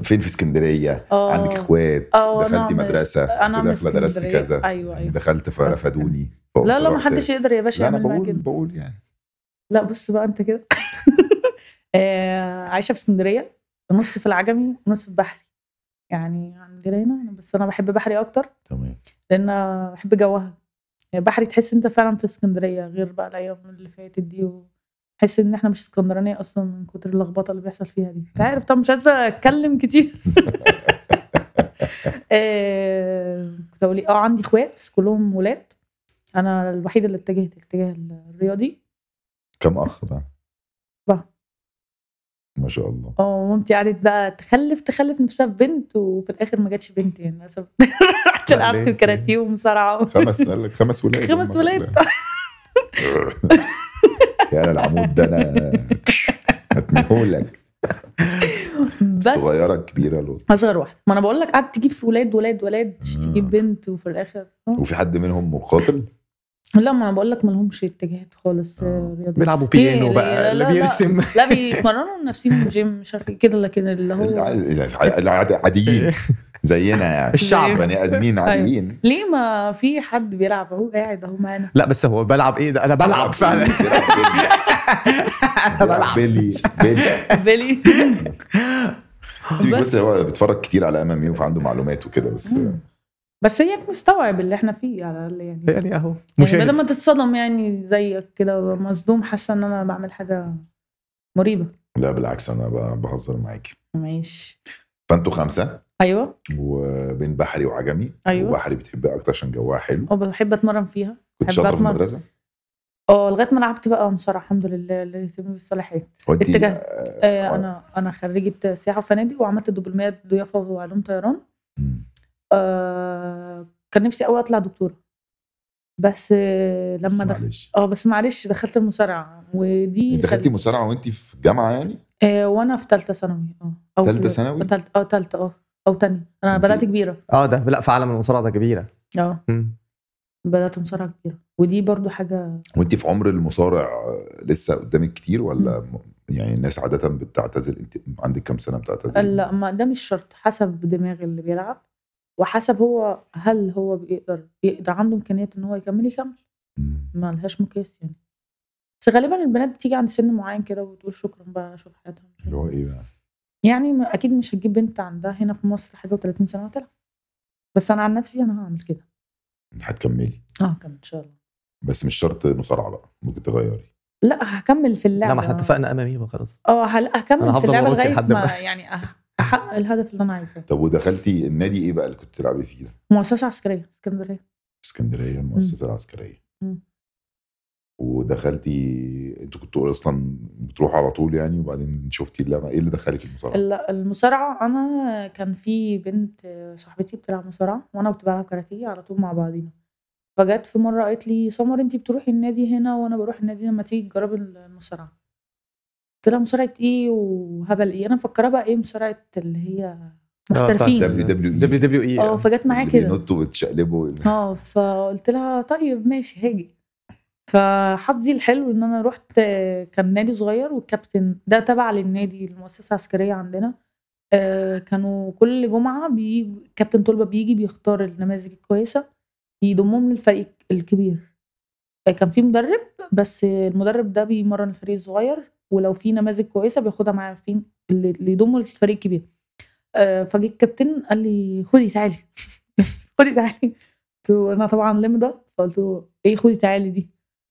فين في اسكندريه؟
اه
عندك اخوات؟
آه، أنا
دخلتي
من-
مدرسه؟
أنا
كنت
من
داخله درست
اسكندرية.
كذا يعني
أيوة، أيوة.
دخلت فرفدوني
لا
فقلت
لا ما
رحت-
حدش يقدر يا باشا
لا انا
يعمل معاك
بقول
كده
بقول يعني
لا بص بقى انت كده [laughs] آه، عايشه في اسكندريه نص في العجمي ونص في بحري يعني عندنا هنا أنا- بس انا بحب بحري اكتر
تمام
لان أنا بحب جوها يعني بحري تحس انت فعلا في اسكندريه غير بقى الايام اللي فاتت دي وتحس ان احنا مش اسكندرانيه اصلا من كتر اللخبطه اللي بيحصل فيها دي انت عارف طبعا مش عايزه اتكلم كتير [laughs] آه، كنت اقول إيه؟ اه عندي اخوات بس كلهم ولاد انا الوحيده اللي اتجهت الاتجاه الرياضي
كم اخ بقى؟
أربعة.
ما شاء الله
اه مامتي قعدت بقى تخلف تخلف نفسها بنت وفي الاخر ما جاتش بنت يعني [laughs] للاسف رحت
لا،
لعبت
ليه؟
كاراتيه ومصارعه
خمس قال لك خمس ولاد
خمس
هم
ولاد.
كلها. يا أنا العمود ده انا هتنهولك
بس
صغيره كبيره لو
اصغر واحده ما انا بقول لك قعدت تجيب في ولاد ولاد ولاد
مم.
تجيب بنت وفي الاخر آه.
وفي حد منهم مقاتل
لا ما انا بقول لك ما لهمش اتجاهات خالص
آه.
آه، رياضيه
بيلعبوا بيانو
ليه؟
بقى
لا،
اللي
لا، لا.
بيرسم
لا بيتمرنوا نفسهم جيم مش عارف ايه كده لكن اللي هو
الع- الع-
[laughs]
العاديين زينا يعني
الشعب
بني ادمين
أيوه.
عاديين
ليه ما في حد بيلعب اهو قاعد اهو معانا
لا بس هو بلعب ايه ده انا بلعب فعلا
بيلعب بيلي بيلي بيلي
بلي
سيبك
بس.
بس هو بيتفرج كتير على ام ام يو فعنده معلومات وكده بس
مم. بس هي مستوعب اللي احنا فيه على الاقل يعني
[laughs] يعني اهو
يعني بدل
مشاهد
ما تتصدم يعني زيك كده مصدوم حاسه ان انا بعمل حاجه مريبه
لا بالعكس انا ب- بهزر معاكي
ماشي
فانتوا خمسه
ايوه
وبين بحري وعجمي
أيوه.
وبحري بتحبها اكتر عشان جوها حلو
وبحب اتمرن أه، فيها
كنت
بحب
شاطره في
أتمرن.
المدرسه
اه لغايه ما لعبت بقى مصارعه الحمد لله اللي يتم بالصلاحيات
هو انت-
اتجه.
آه،
آه انا انا خريجه سياحه وفنادق وعملت دبلومات ضيافه وعلوم طيران
مم.
آه كان نفسي قوي اطلع دكتوره بس آه
بس
لما دخلت
معلش
اه بس معلش دخلت المصارعه ودي
انت دخلتي
خل-
مصارعه وانت في جامعه يعني
آه وانا في ثالثه ثانوي اه او
تالتة
في-
ثانوي؟
تالتة- اه ثالثه اه او تانية انا
انت-
بدات كبيره
اه ده لا في عالم المصارعه ده كبيره
اه
مم.
بدأت مصارعة كبيرة ودي برضو حاجة
وانت في عمر المصارع آه، لسه قدامك كتير ولا م- يعني الناس عاده بتعتزل انت عندك كام سنه بتعتزل
لا ما ده مش شرط حسب دماغ اللي بيلعب وحسب هو هل هو بيقدر يقدر عنده إمكانية إن هو يكمل يكمل
مم.
ما لهاش مقياس يعني بس غالبا البنات بتيجي عند سن معين كده وتقول شكرا بقى أشوف
اللي
حياتها
هو ايه بقى
يعني م- أكيد مش هتجيب بنت عندها هنا في مصر حاجة و30 سنة وتلعب بس أنا عن نفسي أنا هعمل كده
هتكملي
اه كمل إن شاء الله
بس مش شرط مصارعه بقى ممكن تغيري
لا هكمل في اللعبة
لا ما احنا اتفقنا امامي وخلاص
اه هل- هكمل
أنا
في
هفضل
اللعبة
أموت
لغاية
لحد
ما
ما-
[laughs]
[laughs]
يعني أه- احقق الهدف اللي انا عايزاه
طب ودخلتي النادي ايه بقى اللي كنت بتلعبي فيه ده؟
مؤسسه عسكريه اسكندريه
اسكندريه المؤسسه العسكريه
مم.
ودخلتي انتوا كنتوا اصلا بتروحوا على طول يعني وبعدين شفتي اللعبه ايه اللي دخلك المصارعه؟
ال- المصارعه انا كان في بنت صاحبتي بتلعب مصارعه وانا كنت بلعب كاراتيه على طول مع بعضينا فجت في مره قالت لي سمر انت بتروحي النادي هنا وانا بروح النادي لما تيجي تجربي المصارعه قلت لها مصارعه ايه وهبل ايه انا مفكره بقى ايه مصارعه اللي هي محترفين
دبليو دبليو إي.
آه، طيب. دبليو دبليو يعني. اي
اه فجت معايا
اللي
كده
بينطوا وتشقلبوا
اه فقلت لها طيب ماشي هاجي فحظي الحلو ان انا رحت آه، كان نادي صغير والكابتن ده تبع للنادي المؤسسه العسكريه عندنا آه، كانوا كل جمعه بيجي كابتن طلبه بيجي بيختار النماذج الكويسه يضمهم للفريق الكبير آه، كان في مدرب بس المدرب ده بيمرن الفريق الصغير ولو في نماذج كويسه بياخدها معاه فين اللي اللي يضمه للفريق الكبير آه، فجه الكابتن قال لي خدي تعالي بس خدي تعالي قلت له انا طبعا لمده فقلت له ايه خدي تعالي دي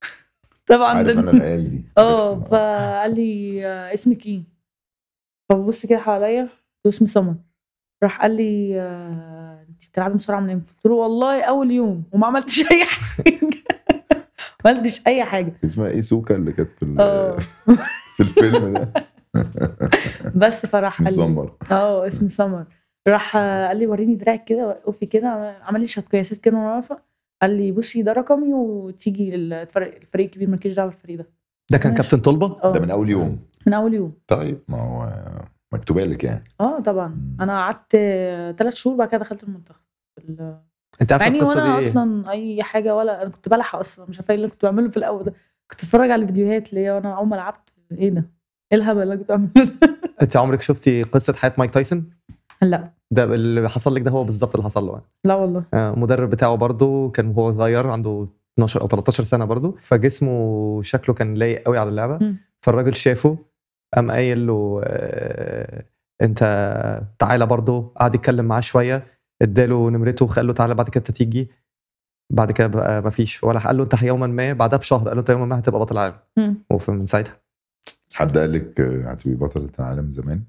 [laughs] طبعا
عارف
ده-
انا العيال
[laughs]
دي
اه
عارفهم.
فقال لي آه، اسمك ايه؟ فببص كده حواليا قلت له اسمي سمر راح قال لي آه، انت بتلعبي مصارعه من امتى؟ قلت له والله اول يوم وما عملتش [laughs] اي حاجه ما عملتش اي حاجه
اسمها ايه سوكا اللي كانت في ال-
اه
[laughs] في الفيلم
[laughs]
ده
بس فراح
اسمه
قال لي
سمر
اه اسمي سمر راح آه، قال لي وريني دراعك كده وقفي كده عمل لي شوت قياسات كده وانا واقفه قال لي بصي ده رقمي وتيجي الفريق الفريق الكبير مالكيش دعوه بالفريق ده
ده كان
ماشي.
كابتن طلبه
ده
اه
من اول يوم
من اول يوم
طيب ما هو مكتوبه لك يعني
اه طبعا
مم.
انا قعدت ثلاث شهور بعد كده دخلت المنتخب ال-
انت
مع
عارف
اني
القصه
وانا
دي ايه؟
اصلا اي حاجه ولا انا كنت بلح اصلا مش عارفه ايه اللي كنت بعمله في الاول ده كنت اتفرج على الفيديوهات اللي هي وانا اول ما لعبت ايه ده؟ ايه الهبل اللي أنا كنت بعمله ده؟ [laughs]
انت عمرك شفتي قصه حياه مايك تايسون؟
لا
ده اللي حصل لك ده هو بالظبط اللي حصل له يعني.
لا والله
آه، المدرب بتاعه برضه كان وهو صغير عنده 12 او 13 سنه برضه فجسمه شكله كان لايق قوي على اللعبه
مم.
فالراجل شافه قام قايل له آه، انت تعالى برضه قعد يتكلم معاه شويه اداله نمرته وقال له تعالى بعد كده أنت تيجي بعد كده بقى مفيش ولا قال له انت يوما ما بعدها بشهر قال له انت يوما ما هتبقى بطل عالم
مم.
ومن ساعتها
حد قال لك آه، هتبقي بطلة العالم
[laughs]
زمان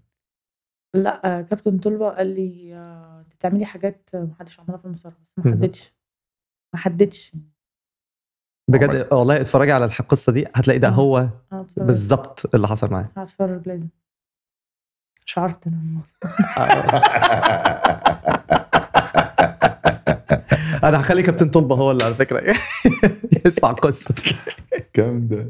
لا آه، كابتن طلبه قال لي آه، انت بتعملي حاجات آه، محدش عملها في المسابقه بس ما
بالظبط.
حددش ما حددش
بجد والله اتفرجي على الح- القصه دي هتلاقي ده
مم.
هو
أنا هتفرج-
بالظبط اللي حصل
[laughs]
معاه
هتفرج لازم شعرت انا والله.
آه، انا هخلي كابتن طلبه هو اللي على فكره [laughs] يسمع القصه دي
كام ده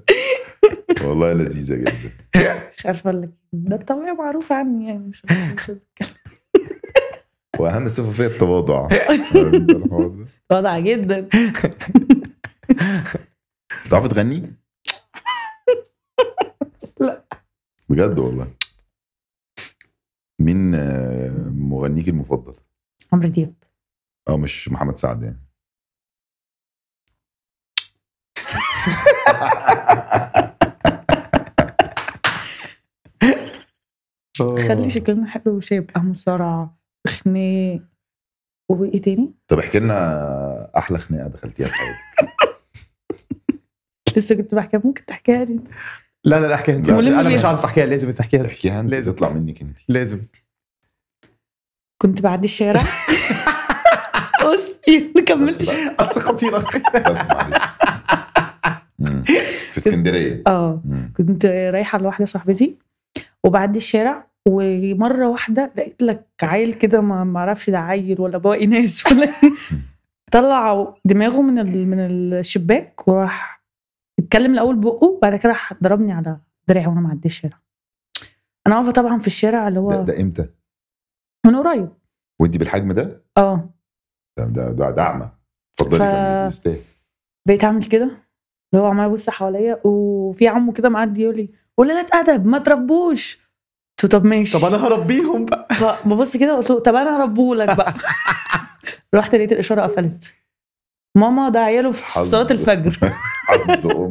والله لذيذه جدا
مش عارفه اقول لك إيه. ده الطبيعي معروف عني يعني مش
[laughs]
مش
واهم صفه فيها
[laughs]
التواضع عارف أنت الحوار ده؟
وضع جدا
بتعرفي تغني؟
لا.
بجد والله مين آه، مغنيك المفضل؟
عمرو دياب
اه مش محمد سعد يعني آه.
خلي شكلنا حلو وشاب اه مصارعه خناق وايه تاني؟
طب احكي لنا احلى خناقه دخلتيها في حياتك
لسه كنت بحكيها ممكن تحكيها لي
لا لا لا احكيها انت
لا.
مش- انا
ملم
مش
بيها.
عارف احكيها لازم تحكيها انت
احكيها انت
لازم.
تطلع منك انت
لازم
كنت بعدي
[laughs]
الشارع بص إيه، ما
بس,
كملتش
بقى-
اصل [laughs] خطيره
بس
[laughs]
معلش مم. في اسكندريه
اه
مم.
كنت رايحه لواحده صاحبتي وبعدي الشارع ومره واحده لقيت لك عيل كده ما ما اعرفش ده عيل ولا بواقي ناس [laughs] ولا طلع دماغه من ال- من الشباك وراح اتكلم الاول بقه بعد كده راح ضربني على دراعي وانا معدي الشارع انا واقفه طبعا في الشارع اللي
ده,
هو
ده امتى؟
من قريب
وانت بالحجم ده؟
اه
ده ده, ده دعمه اتفضلي
ف-
كملي، يستاهل
بقيت اعمل كده اللي هو عمال ابص حواليا وفي عمه كده معدي يقول لي قلة ادب ما تربوش قلت له طب ماشي
طب انا هربيهم بقى
ببص كده قلت له طب انا
[laughs]
هربهولك بقى رحت لقيت الاشاره قفلت ماما ده عياله في
حظ.
صلاه الفجر
حظ ام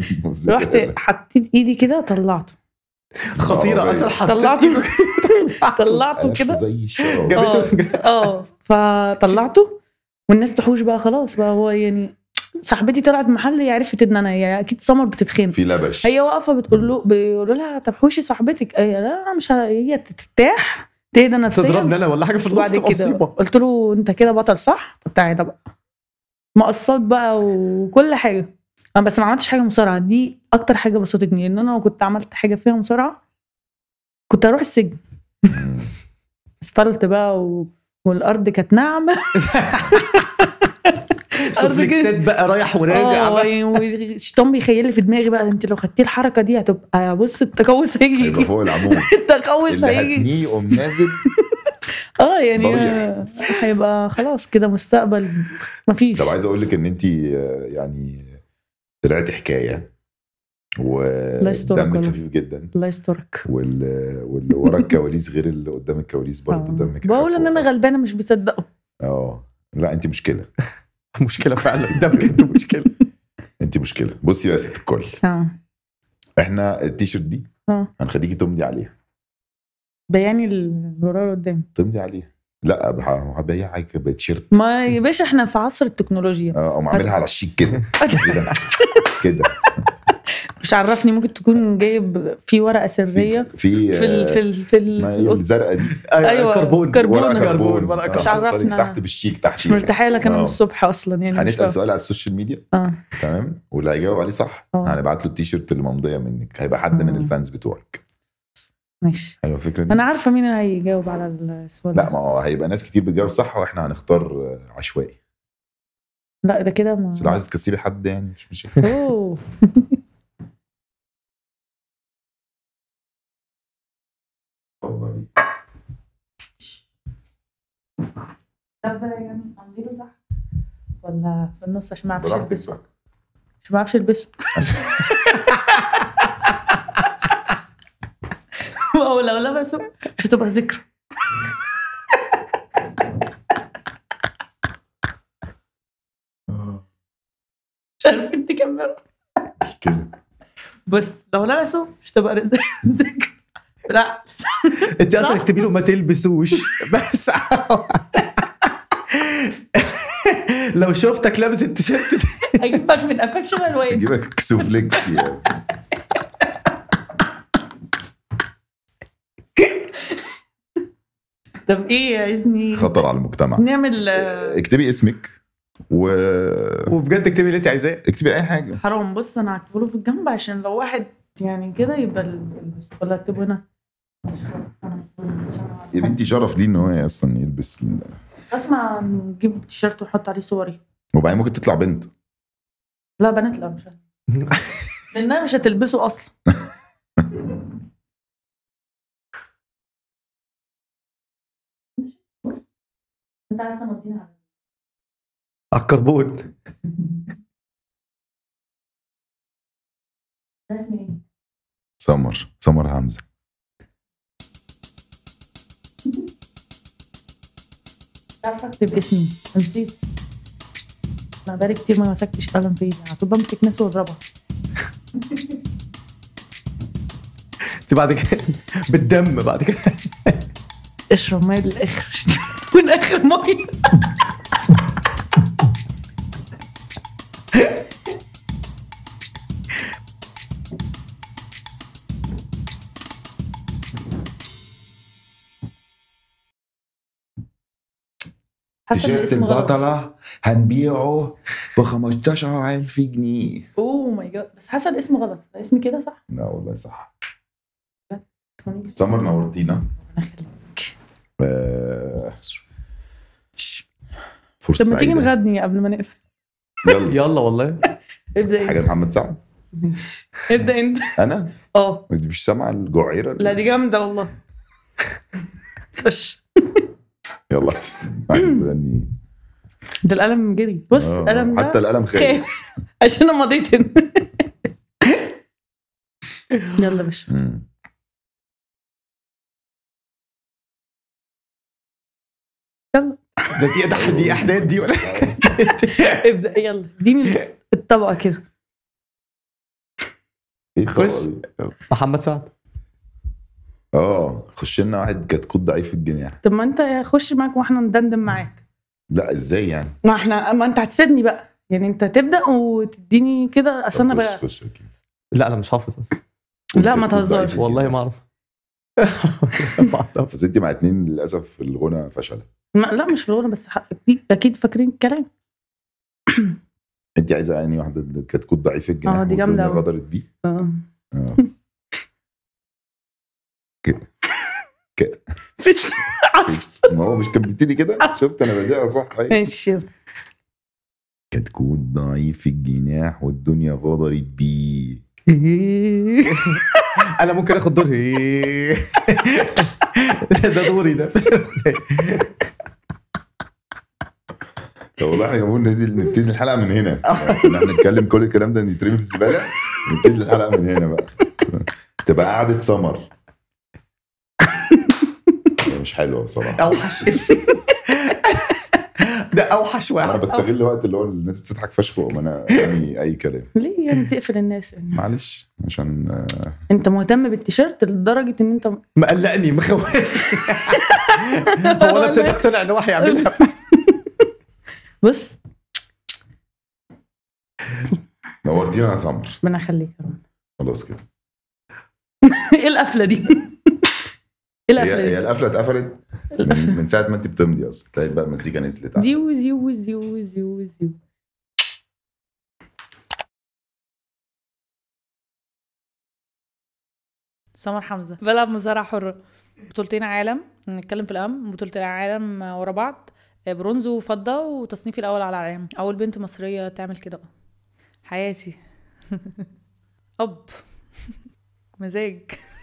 رحت حطيت ايدي كده طلعته
خطيره اصل حطيت
طلعته
إيده
[laughs] طلعته كده
زي الشراب
جابته
آه. اه فطلعته والناس تحوش بقى خلاص بقى هو يعني صاحبتي طلعت محل هي عرفت ان انا يعني اكيد سمر بتتخانق
في لبش
هي واقفه بتقول له بيقولوا لها طب حوشي صاحبتك هي لا أنا مش ه- هي ترتاح تهدى نفسيا
تضربني انا ولا حاجه في النص
وبعد
تبقى
كده
مصيبه
قلت له انت كده بطل صح طب تعالى بقى مقصات بقى وكل حاجه انا بس ما عملتش حاجه مصارعه دي اكتر حاجه بسطتني لان انا لو كنت عملت حاجه فيها مصارعه كنت هروح
[laughs]
السجن
مم.
اسفلت بقى و... والارض كانت ناعمه أرض جد.
سوفليكسات بقى رايح وراجع
اه
بقى
والشيطان بيخيل لي في دماغي بقى انت لو خدتي الحركه دي هتبقى بص التقوس
هيبقى
هيجي
فوق العمود
التقوس
اللي
هيجي
هتنيه يقوم نازل
اه يعني
ضريح.
هيبقى خلاص كده مستقبل مفيش
طب عايز اقول لك ان انت يعني طلعتي حكايه
يسترك
ودمك
والله.
خفيف جدا
الله يسترك
وال... واللي
[laughs]
ورا الكواليس غير اللي قدام الكواليس برضه
آه.
دمك
بقول
خفيف
ان انا
والله.
غلبانه مش بصدقه
اه لا انت مشكله
مشكله فعلا ده بجد مشكله
انت مشكله بصي يا ست الكل
اه
احنا التيشيرت دي
اه
هنخليكي تمضي عليها
بياني الزرار قدام
تمضي عليها لا بح- هبيعها حاجه بتيشيرت
ما يا باشا احنا في
[laughs]
عصر التكنولوجيا
اه اقوم عاملها على الشيك كده كده كده
[laughs] مش عرفني ممكن تكون جايب في ورقه سريه
في آه،
في ال... في ال... في, ال... في
اسمها ايه
الأوضة.
الزرقاء دي
[laughs] أيوة،
آه، كربون
كربون.
ورقة
كربون ورقة
آه،
كربون.
مش عرفنا.
تحت بالشيك تحت
مش مرتاحه لك انا من
آه.
الصبح اصلا يعني مش
هنسال
فاهمة.
سؤال على السوشيال ميديا
اه
تمام واللي هيجاوب عليه صح
آه.
هنبعت له التيشيرت اللي ممضيه منك هيبقى حد من
آه.
الفانز بتوعك
ماشي
حلوه الفكره دي
انا عارفه مين اللي هيجاوب على السؤال
لا
ده.
ما هو هيبقى ناس كتير بتجاوب صح واحنا هنختار آه، عشوائي
لا ده كده ما
بس لو عايز تكسبي حد يعني مش مشكله
اوه طب يعني أمضيله تحت ولا في النص [laughs] عشان ما اعرفش
براحتك
البسه
بقى.
عشان ما اعرفش البسه [laughs] واو لو لبسه مش هتبقى ذكرى مش عارفه انت كاميرا
مش كده
بس لو لبسه مش هتبقى ذكرى لا
انت
صح.
اصلا اكتبي له ما تلبسوش [laughs] بس لو شفتك لابس التيشيرت ده،
هجيبك من قفاك شبه الواد
نجيبك كسوفليكس
[laughs]
يعني
طب ايه عايزني
خطر على المجتمع
نعمل آه،
اكتبي اسمك و
وبجد اكتبي اللي انت عايزاه
اكتبي اي حاجه
حرام بص انا هكتبه له في الجنب عشان لو واحد يعني كده يبقى ال- ولا اكتبه هنا
يا بنتي شرف ليه ان هو اصلا يلبس ال...
اسمع نجيب تيشيرت ونحط عليه صوري
وبعدين ممكن تطلع بنت
لا بنات لا مش هت- لانها مش هتلبسه اصلا انت عايز تمضيني على
على الكربون
رسمي ايه؟
سمر سمر حمزه
عارفه اكتب اسمي نسيت انا بقالي كتير ما مسكتش قلم في ايدي على طول بمسك نفسي واضربها
انت بعد كده [laughs] بالدم بعد كده [laughs]
اشرب ميه للاخر [laughs] من اخر ميه حاسة إن
تيشيرت
الاسم غلط.
البطله هنبيعه ب 15000 جنيه
اوه ماي جاد بس حاسه الاسم غلط اسمي كده صح؟
لا والله صح سمر نورتينا
أنا خليك.
آه، فرصه
طب ما تيجي
سعيدة.
نغني قبل ما نقفل
يلا
يلا والله
ابدا انت
حاجه محمد سعد
ابدا انت
انا
اه
انت مش سامعه الجعيره
لا دي جامده والله خش
يلا بغني
ده القلم جري بص
آه،
القلم ده
حتى القلم خايف
خايف [laughs] عشان انا
[laughs]
مضيت هنا يلا يا باشا
مم.
ده دي ده دي احداث دي ولا
ابدا يلا اديني الطبقه كده
ايه الطبقة
خش.
دي؟
[laughs] محمد سعد
اه خش لنا واحد كتكوت ضعيف الجناح
طب ما انت خش معاك واحنا ندندن معاك
لا ازاي يعني
ما احنا ما انت هتسيبني بقى يعني انت تبدا وتديني كده عشان انا
طب
بقى
خش خش أوكي.
لا انا مش حافظ أصلاً.
لا ما
كتكوت ضعيف
تهزرش.
الجناح.
[laughs] والله ما اعرف ما أعرف.
فزدتي مع اتنين للاسف في الغنى فشل
ما لا مش في الغنى بس حق- أكيد- اكيد فاكرين الكلام
انت عايزه يعني واحده اللي كانت كود ضعيف الجناح
آه، دي جامدة
والدنيا
أوي.
غدرت بيه
آه. [laughs]
آه.
بس
[laughs]
عصف
ما هو مش كان بيبتدي
[laughs]
كده شفت انا بدأها صح أيوة.
ماشي
كتكوت ضعيف الجناح والدنيا غدرت بيه
انا ممكن اخد دور ده- [laughs] ده دوري ده [laughs]
طب والله احنا المفروض نبتدي نبتدي الحلقه من هنا
آه.
يعني كنا احنا نتكلم كل الكلام ده نترمي في الزباله نبتدي الحلقه من هنا بقى تبقى قعده سمر مش حلوه بصراحه
اوحش [laughs] ده اوحش
انا
واحد
بستغل الوقت اللي هو الناس بتضحك فشخ واقوم انا أرمي اي كلام
ليه يعني تقفل الناس يعني؟
معلش عشان آه،
انت مهتم بالتيشيرت لدرجه ان انت
مقلقني مخوفني [laughs] هو انا ابتدي اقتنع ان هو هيعملها
بص
نورتينا يا سمر
ربنا يخليك يا رب. [laughs]
خلاص كده
ايه القفله دي؟ [laughs] ايه
هي
القفله
هي
دي؟
القفله اتقفلت من, من ساعه ما انت بتمضي اصلا تلاقي بقى المزيكا نزلت على-
زيو زيو زيو زيو زيو
سمر حمزه بلعب مصارعه حره بطولتين عالم نتكلم في الام بطوله العالم ورا بعض آه، برونز وفضه وتصنيفي الاول على العالم اول بنت مصريه تعمل كده بقى. [laughs] حياتي اب [laughs] مزاج